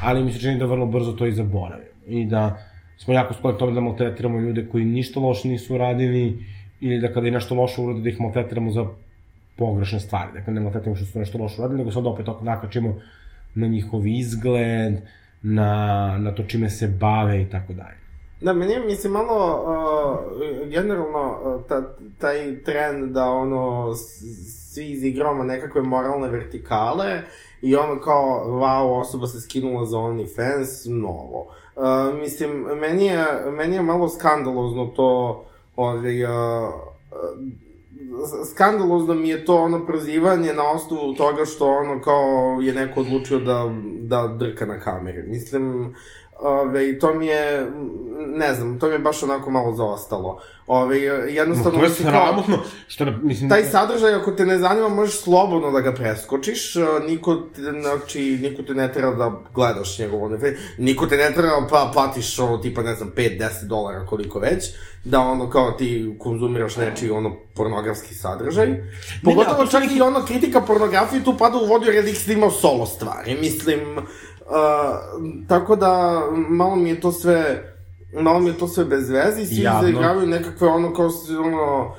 D: ali mi se čini da vrlo brzo to i zaboravimo. I da smo jako skloni tome da maltretiramo ljude koji ništa loše nisu uradili, ili da kada je nešto loše urade, da ih maltretiramo za pogrešne stvari. Dakle, ne maltretiramo što su nešto loše uradili, nego sad opet tako nakačimo na njihov izgled, na, na to čime se bave i tako dalje.
C: Da, meni je, mislim, malo, uh, generalno, uh, ta, taj trend da, ono, s- svi izigravamo nekakve moralne vertikale i ono kao, wow, osoba se skinula za OnlyFans, novo. Uh, mislim, meni je, meni je malo skandalozno to, ovaj, uh, uh, skandalozno mi je to ono prozivanje na osnovu toga što ono kao je neko odlučio da, da drka na kameri. Mislim, Ove, i to mi je, m, ne znam, to mi je baš onako malo zaostalo. Ove,
D: Ma,
C: jednostavno,
D: to je
C: mislim, kao-
D: sramotno, što, da- mislim,
C: taj sadržaj, ako te ne zanima, možeš slobodno da ga preskočiš, e, niko te, znači, niko te ne treba da gledaš njegov OnlyFans, niko te ne treba pa platiš ono tipa, ne znam, 5-10 dolara koliko već, da ono kao ti konzumiraš nečiji ono pornografski sadržaj. Pogotovo čak i ono kritika pornografije tu pada u vodu jer je lik snimao solo stvari, mislim, uh, tako da malo mi je to sve malo mi je to sve bez veze i svi
D: Jadno.
C: izigravaju nekakve ono kao s- ono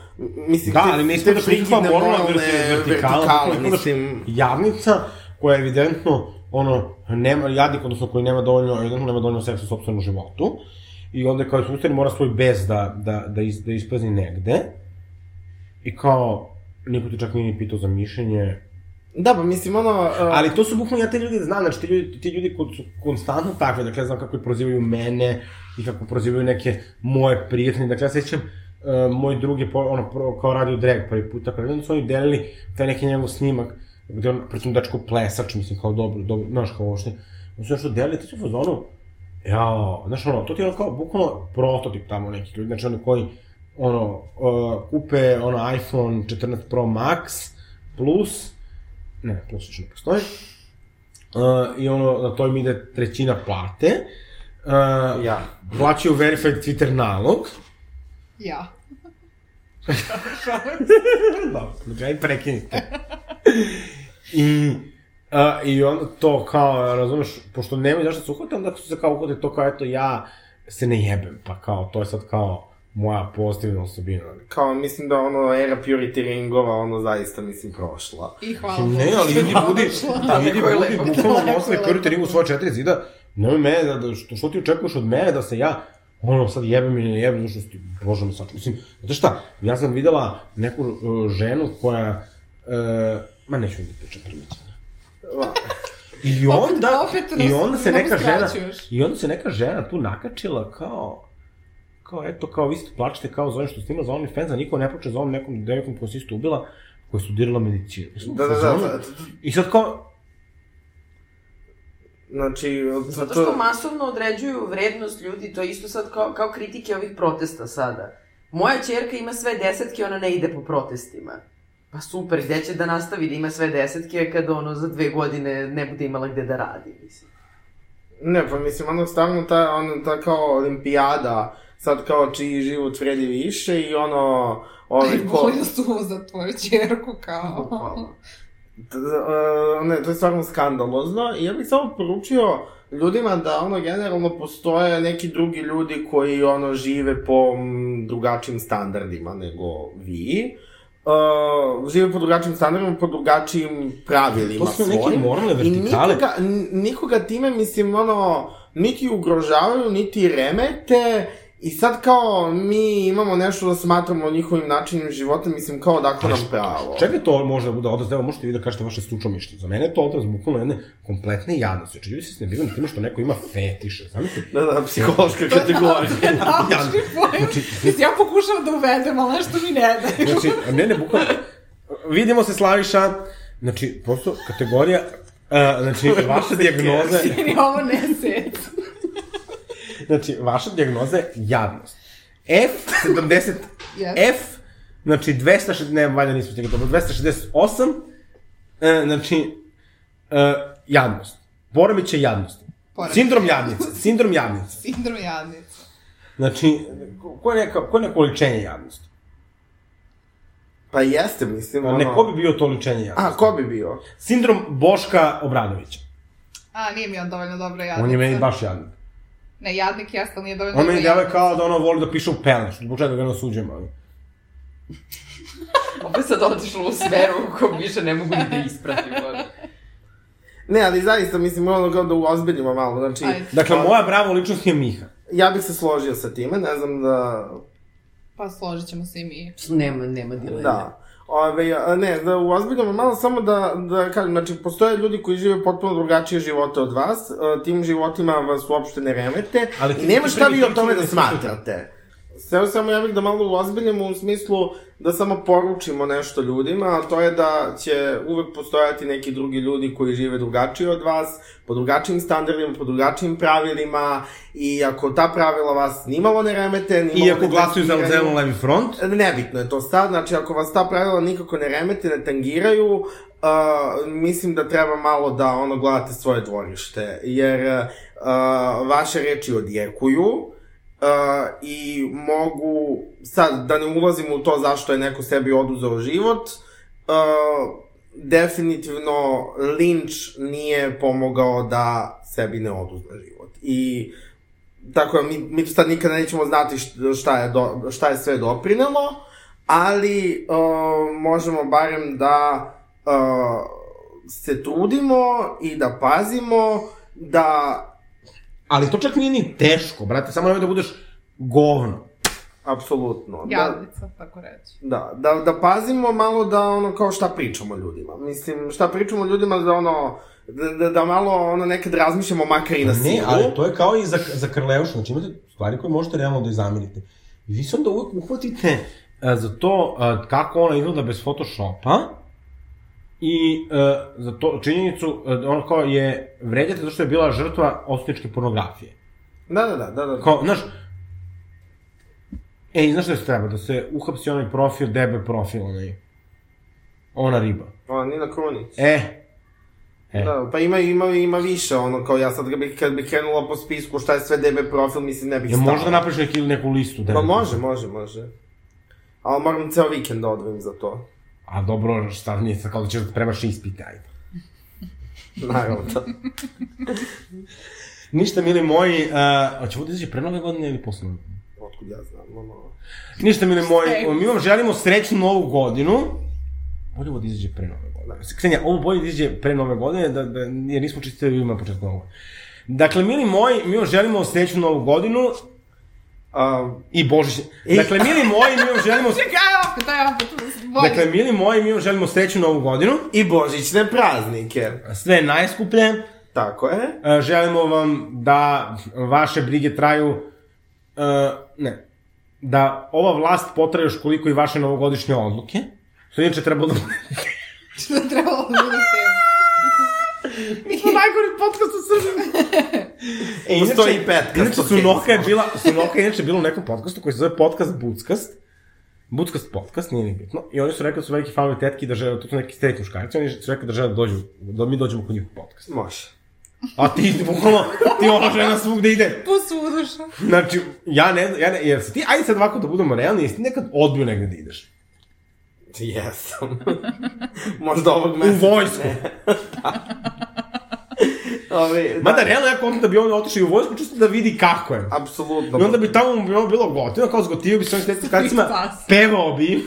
C: mislim
D: Da, ali mi smo da prihvatamo moralna vertikala,
C: vertikale, mislim.
D: Javnica koja je evidentno, ono, nema, jadnik, odnosno koji nema dovoljno, evidentno nema dovoljno seksa u sobstvenom životu, i onda kao sustan mora svoj bez da, da, da, is, da isprazni negde, i kao, niko ti čak nije ni pitao za mišljenje,
C: Da, pa mislim, ono... Uh,
D: Ali to su bukvalno, ja te ljudi znam, znači ti ljudi, ti ljudi koji su konstantno takvi, dakle ja znam kako i prozivaju mene i kako prozivaju neke moje prijatelje, dakle ja sećam uh, moj drug je po, ono, pro, kao radio drag prvi puta, kada onda su oni delili taj neki njegov snimak, gde on, pritom dečko plesač, mislim, kao dobro, dobro, znaš, kao ošte, oni su nešto delili, ti su u fazonu, jao, znaš, ono, to ti je ono kao bukvalno prototip tamo nekih ljudi, znači oni koji, ono, uh, kupe, ono, iPhone 14 Pro Max, plus, ne, plus još ne postoji. Uh, I ono, na to im ide trećina plate. Uh,
C: Ja.
D: Plaćaju verified Twitter nalog.
E: Ja.
D: Dobro, ga i prekinite. I, uh, I onda to kao, razumeš, pošto nemaju zašto da se uhvate, onda su se kao uhvate to kao, eto, ja se ne jebem, pa kao, to je sad kao moja pozitivna osobina.
C: Kao, mislim da ono era purity ringova, ono zaista, mislim, prošla.
E: I hvala.
D: Ne, ali ljudi budi, da ljudi
F: Tako je
D: budi,
F: lepo.
D: bukvalno
E: Tako je
D: ostali
E: lepo.
D: purite ring u svoje četiri zida, nemoj mene da, da što, što ti očekuješ od mene da se ja, ono sad jebem ili ne jebem, zašto ti, bože me saču, mislim, znate šta, ja sam videla neku uh, ženu koja, uh, ma neću da pričam primitivno. I
E: Opet-
D: onda,
E: opet nas-
D: i onda se
E: opet
D: neka žena,
E: skraćuješ.
D: i onda se neka žena tu nakačila kao, kao eto, kao vi ste plačete kao za onim što snima za OnlyFans, a niko ne plače za ovom nekom devekom koja se isto ubila, koja je studirala medicinu. Mislim,
C: Da, da, da,
D: fazonu-
C: da.
D: I sad kao,
C: Znači,
F: Zato što
C: to...
F: masovno određuju vrednost ljudi, to je isto sad kao, kao kritike ovih protesta sada. Moja čerka ima sve desetke, ona ne ide po protestima. Pa super, gde će da nastavi da ima sve desetke kad ono za dve godine ne bude imala gde da radi, mislim.
C: Ne, pa mislim, ono, stavno ta, ono, ta kao olimpijada, sad kao čiji život vredi više i ono... Ove, ko,
E: Bolja su za tvoju čerku, kao.
F: Bukvalno.
C: T- e, ne, to je stvarno skandalozno i ja bih samo poručio ljudima da ono generalno postoje neki drugi ljudi koji ono žive po mm, drugačijim standardima nego vi. E, uh, žive po drugačijim standardima, po drugačijim pravilima
D: To su neke moralne vertikale.
C: I nikoga, n- nikoga time, mislim, ono, niti ugrožavaju, niti remete. I sad kao mi imamo nešto da smatramo njihovim načinom života, mislim, kao dakle nam pravo.
D: Čega to može da bude odraz? Evo, možete vi da kažete vaše stručno mišljenje. Za mene je to odraz bukvalno jedne kompletne jadnosti. Znači, ljudi se snebivaju na time što neko ima fetiše. Zamislite,
C: Da, da, psihološka kategorija.
E: Naučni pojam. Mislim, ja pokušavam da uvedem, ali nešto mi ne daju.
D: Znači, ne, ne, bukvalno. Vidimo se, Slaviša. Znači, prosto, kategorija... Uh, znači, vaša dijagnoza je...
E: Ni ovo ne set.
D: Znači, vaša dijagnoza je jadnost. F70...
E: Yes.
D: F... Znači, 260... Ne, valjda nismo stigli dobro. 268... E, znači... E, jadnost. Poremeće jadnosti.
E: Poremećaj.
D: Sindrom jadnice. Sindrom jadnice.
E: Sindrom jadnice.
D: Znači, ko- ko je, neka, ko je neko ličenje jadnosti?
C: Pa jeste, mislim, ono...
D: Ne, ko bi bio to ličenje jadnosti?
C: A, ko bi bio?
D: Sindrom Boška Obradovića.
E: A, nije mi on dovoljno dobra jadnica.
D: On je meni baš jadnik.
E: Ne, jadnik jeste, ali nije dovoljno
D: On meni
E: dobra
D: deluje kao da ono voli da piše u pelenu, što zbog čega ga ne osuđujem, ali.
F: Opet sad otišlo u sferu u kojom više ne mogu ni da ispratim. ono.
C: Ne, ali zaista, mislim, ono kao da uozbiljimo malo, znači...
E: Ajde.
D: Dakle, moja bravo ličnost je Miha.
C: Ja bih se složio sa time, ne znam da...
E: Pa složit ćemo se i mi.
F: Nema, nema dileme.
C: Da. Ove, a, ne, da uozbiljamo malo samo da, da kažem, znači, postoje ljudi koji žive potpuno drugačije živote od vas, e, tim životima vas uopšte ne remete,
D: Ali
C: ali
D: ti-
C: i nema
D: ti
C: šta vi
D: primi-
C: o tome
D: ti
C: da
D: primi-
C: smatrate. Sve samo ja bih da malo uozbiljamo u smislu da samo poručimo nešto ljudima, a to je da će uvek postojati neki drugi ljudi koji žive drugačije od vas, po drugačijim standardima, po drugačijim pravilima, i ako ta pravila vas nimalo ne remete, nimalo
D: Iako
C: ne
D: glasuju za
C: testiraju-
D: zeleno levi front,
C: E, Nebitno je to sad, znači ako vas ta pravila nikako ne remete, ne tangiraju, uh, mislim da treba malo da ono gledate svoje dvorište, jer uh, vaše reči odjekuju uh, i mogu, sad da ne ulazimo u to zašto je neko sebi oduzeo život, uh, definitivno linč nije pomogao da sebi ne oduzme život. I Tako da mi, mi to sad nikada nećemo znati št- šta je, do, šta je sve doprinelo, ali uh, možemo barem da uh, se trudimo i da pazimo da
D: ali to čak nije ni teško, brate, samo nemoj da budeš govno.
C: apsolutno da,
E: Jadnica, tako reći.
C: da, da, da pazimo malo da ono kao šta pričamo ljudima. Mislim, šta pričamo ljudima da ono da, da, da malo ono nekad razmišljamo makar i na silu.
D: Ne, ali to je kao i za, za Krleuša, znači imate stvari koje možete realno da izamirite. I vi se onda uvek uhvatite a, za to a, kako ona izgleda bez Photoshopa i a, za to činjenicu, a, ono kao je vređate zato što je bila žrtva osničke pornografije.
C: Da, da, da, da. da.
D: Kao, znaš, E, i znaš šta se treba? Da se uhapsi onaj profil, debe profil, onaj, ona riba.
C: Ona Nina Krunić.
D: E, E.
C: Da, pa ima, ima, ima više, ono, kao ja sad kad bih, kad bih krenula po spisku šta je sve DB profil, mislim, ne bih
D: je
C: stala.
D: možda napraviš neki, neku listu debe
C: Ma
D: profila?
C: Pa može, može, može. Ali moram ceo vikend da odvojim za to.
D: A dobro, šta nije sad kao da ćeš da spremaš ispite, ajde.
C: Naravno da.
D: Ništa, mili moji, uh, hoćemo da izađe pre nove godine ili posle nove godine?
C: Otkud ja znam, ono...
D: Ništa, mili
E: Ej.
D: moji, mi vam želimo srećnu novu godinu. Bolje ovo da izađe pre nove godine. Ksenija, ovo bolje da izađe pre nove godine, da, da, jer nismo čistili ljudima na početku nove godine. Dakle, mili moji, mi vam želimo srećnu novu godinu
C: A,
D: i Božić.
C: I-
D: Dakle, mili moji, mi vam želimo...
E: Čekaj, opet, aj opet. Bolje.
D: Dakle, mili moji, mi vam želimo srećnu novu godinu.
C: I božićne praznike.
D: Sve najskuplje.
C: Tako je.
D: E, želimo vam da vaše brige traju e, ne da ova vlast potraje još koliko i vaše novogodišnje odluke što inače trebalo da
E: Što je trebalo da bude tema? Mi smo najgori podcast u Srbiji.
D: E,
C: Postoji i petkast,
D: Inače,
C: okej.
D: Sunoka je bila, Sunoka je inače bila u nekom podcastu koji se zove podcast Buckast. Buckast podcast, nije ni bitno. I oni su rekli da su veliki fanovi tetki da žele, to su neki tetki muškarci, oni su rekli da žele da dođu, da mi dođemo kod njih u podcast.
C: Može.
D: A ti, bukvalno, ti ova žena svugde ide.
E: Posvuduša.
D: Znači, ja ne znam, ja ne, jer si ti, ajde sad ovako da budemo realni, jesi ti nekad odbio negde da ideš?
C: Jesam. Možda ovog
D: U
C: meseca.
D: vojsku.
C: Ove,
D: Mada, realno, ja kontam da bi on otišao i u vojsku, čisto da vidi kako je.
C: Apsolutno.
D: I onda bi tamo mu bilo, bilo gotivno, kao zgotio bi s ovim stetskim karticima,
E: Spasi.
D: pevao bi im.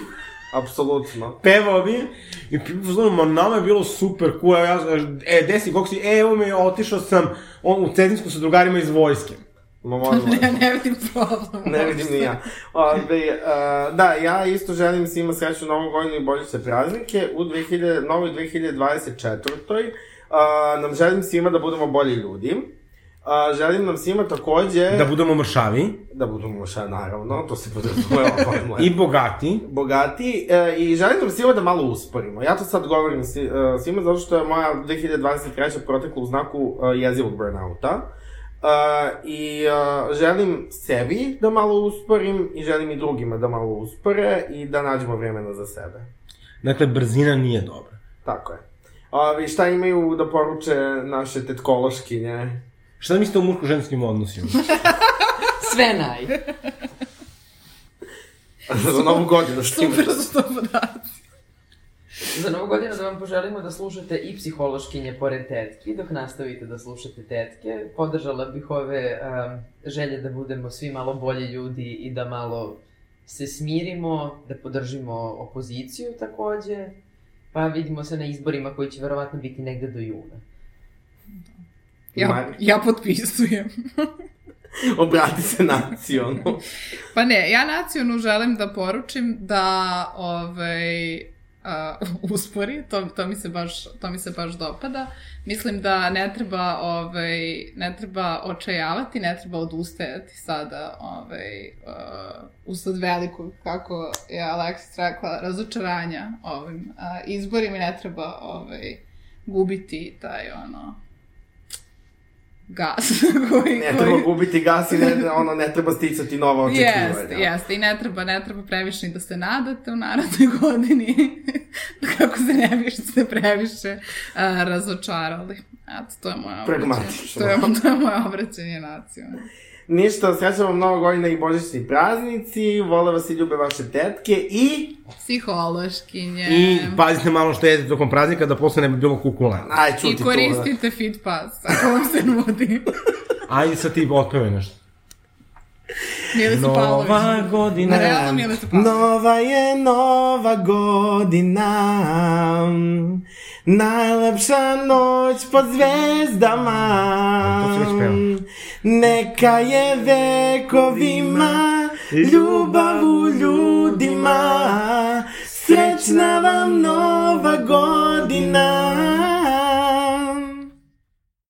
C: Apsolutno.
D: pevao mi je i znam, ma nama je bilo super cool, evo ja, e, desi, kako si, e, evo me, otišao sam on, u Cetinsku sa drugarima iz vojske.
C: Ma možemo.
E: Ja ne vidim problem.
C: Ne vidim ni ja. Ove, uh, da, ja isto želim svima sreću novu godinu i bolje se praznike. U 2000, novoj 2024. Uh, nam želim svima da budemo bolji ljudi. Uh, želim nam svima takođe
D: Da budemo mršavi
C: da budemo ša, naravno, to se podrazumeva pojmo.
D: i bogati.
C: bogati e, i želim nam svima da malo usporimo. Ja to sad govorim svi- e, svima zato što je moja 2023. protekla u znaku e, jezivog burnouta. E, I e, želim sebi da malo usporim i želim i drugima da malo uspore i da nađemo vremena za sebe.
D: Dakle, brzina nije dobra.
C: Tako je. Ovi, šta imaju da poruče naše tetkološkinje?
D: Šta mislite o muško-ženskim odnosima?
F: Sve naj.
C: za novu godinu što imaju?
E: Super su to podaci.
F: Za novu godinu da vam poželimo da slušate i psihološkinje pored tetki, dok nastavite da slušate tetke. Podržala bih ove um, želje da budemo svi malo bolji ljudi i da malo se smirimo, da podržimo opoziciju takođe. Pa vidimo se na izborima koji će verovatno biti negde do juna.
E: Ja,
C: Mari.
E: ja potpisujem.
C: Obrati se nacionu.
E: Pa ne, ja nacionu želim da poručim da ovaj, uh, uspori, to, to, mi se baš, to mi se baš dopada. Mislim da ne treba, ovaj, ne treba očajavati, ne treba odustajati sada ovaj, uh, usled velikog, kako je Aleksis rekla, razočaranja ovim uh, izborima i ne treba ovaj, gubiti taj ono gas koji,
C: Ne
E: koji...
C: treba gubiti gas i ne, ono, ne treba sticati nova očekivanja.
E: Jeste, jeste, i ne treba, ne treba previše ni da se nadate u narodnoj godini, kako se ne bi što ste previše a, razočarali. Eto, to je moje obraćanje.
C: Pragmatično.
E: To je, to je moje obraćanje naciju.
C: Ništa, srećam vam mnogo godina i božićni praznici, vole vas i ljube vaše tetke i...
E: Psihološkinje.
D: I pa, pazite malo što jedete tokom praznika da posle ne bi bilo kukulena.
C: Aj, čuti da.
E: I koristite Fit Pass, ako vam se nudi.
D: Ajde sad ti otpevaj nešto.
E: Milica Pavlović.
D: Nova godina.
E: Na realno da Milica
C: to.
E: Pavlović.
C: E, Nova je nova godina, najlepša noć pod zvezdama.
D: To si već peo.
C: Neka je vekovima, ljubav u ljudima, srećna vam nova godina.